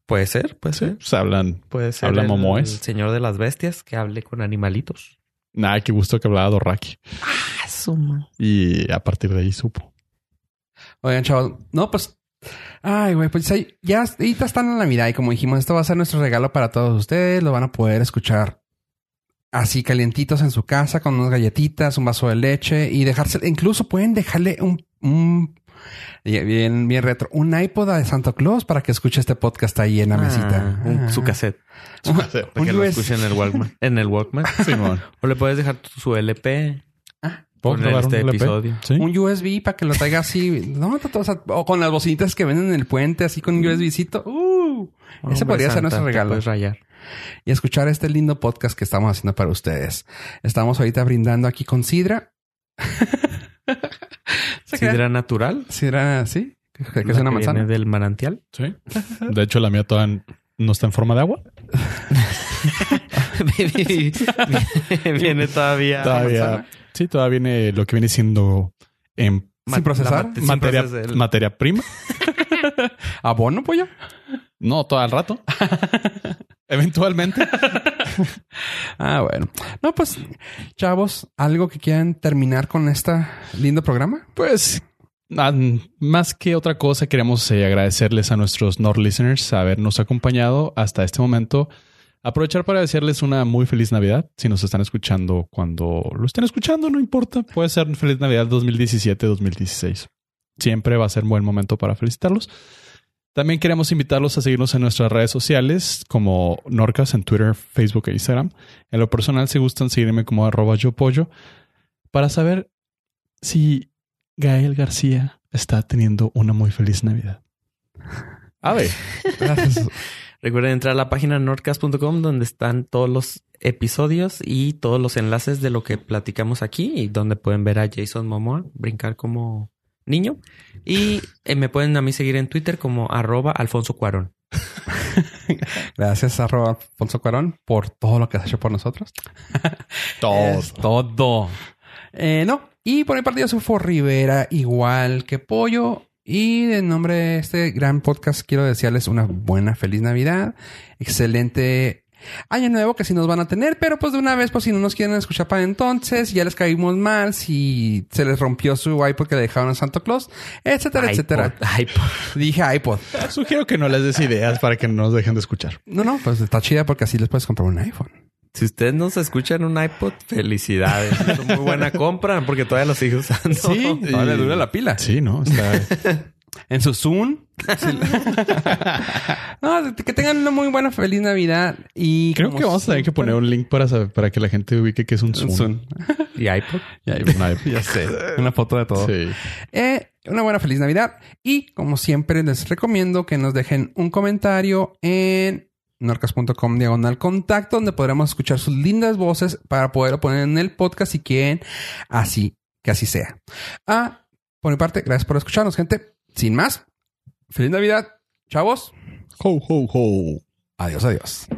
Puede ser, puede
Sí,
ser.
pues hablan.
Puede ser.
Habla
el
Momoes.
señor de las bestias que hable con animalitos.
Nada que Woodstock hablaba Dorraki. Y a partir de ahí supo.
Oigan, chavos. No, pues. Ay, güey, pues ahí- ya ahorita están en la Navidad y como dijimos, esto va a ser nuestro regalo para todos ustedes. Lo van a poder escuchar así calientitos en su casa con unas galletitas, un vaso de leche y dejarse. Incluso pueden dejarle un. un- eh, bien, bien retro. Un iPod de Santa Claus para que escuche este podcast ahí en la mesita.
Ah, un-
Ah.
su cassette. Para
Un
que lo
USB.
escuchen en el Walkman. En el Walkman.
Simón.
O le puedes dejar tu- su LP.
Ah,
¿Puedo
Poner
grabar
este
un LP?
episodio.
Sí.
Un USB para que lo traiga así. No, to- to- o, sea, o con las bocinitas que venden en el puente, así con un USBcito. Uh, ese
Hombre,
podría ser
Santa,
nuestro
te
regalo.
puedes rayar.
y escuchar este lindo podcast que estamos haciendo para ustedes. Estamos ahorita brindando aquí con Sidra. ¿Se crean?
Sidra natural.
Sidra, sí, que, que
la
es una
que
manzana.
Viene del manantial.
Sí. De hecho, la mía todavía no está en forma de agua.
viene todavía.
Todavía.
manzana.
Sí, todavía viene lo que viene siendo en
Ma-
Sin procesar.
la mate- sin
materia,
procesar.
materia prima.
¿Abono, pollo?
No, todo el rato. Eventualmente.
Ah, bueno. No, pues, chavos, ¿algo que quieran terminar con este lindo programa?
Pues ah, más que otra cosa, queremos eh, agradecerles a nuestros Nord listeners habernos acompañado hasta este momento. Aprovechar para desearles una muy feliz Navidad. Si nos están escuchando cuando lo estén escuchando, no importa. Puede ser feliz Navidad 2017-2016. Siempre va a ser un buen momento para felicitarlos. También queremos invitarlos a seguirnos en nuestras redes sociales como Norcas en Twitter, Facebook e Instagram. En lo personal, si gustan, seguirme como arroba yo pollo para saber si Gael García está teniendo una muy feliz Navidad. A ver.
Gracias.
Recuerden entrar a la página nordcast.com donde están todos los episodios y todos los enlaces de lo que platicamos aquí y donde pueden ver a Jason Momoa brincar como niño. Y eh, me pueden a mí seguir en Twitter como arroba Alfonso Cuarón.
Gracias, arroba Alfonso Cuarón, por todo lo que has hecho por nosotros. Es todo. Eh, no. Y por mi parte yo soy For Rivera, igual que Pollo. Y en nombre de este gran podcast quiero desearles una buena feliz Navidad. Excelente año nuevo que sí nos van a tener. Pero pues de una vez, pues si no nos quieren escuchar para entonces, ya les caímos mal. Si se les rompió su iPod que le dejaron a Santo Claus, etcétera, etcétera.
iPod, iPod.
Dije iPod.
Sugiero que no les des ideas para que no nos dejen de escuchar.
No, no, pues está chida porque así les puedes comprar un iPhone.
Si ustedes nos escuchan un iPod, felicidades. Es una muy buena compra porque todavía lo sigo usando.
y-
Ahora le dura la pila.
Sí, ¿no? Está...
En su Zoom. Sí. no, que tengan una muy buena feliz Navidad y
Creo
como
que vamos a tener que
siempre-
poner un link para, saber- para que la gente ubique que es un Zoom.
Un Zoom.
Y iPod.
Ya, hay una-
Ya sé, una foto de todo.
Sí.
Eh, una buena feliz Navidad y como siempre les recomiendo que nos dejen un comentario en norcas.com diagonal contacto donde podremos escuchar sus lindas voces para poderlo poner en el podcast si quieren. Así que así sea. Ah, por mi parte, gracias por escucharnos, gente. Sin más, feliz Navidad, chavos.
Ho, ho, ho.
Adiós, adiós.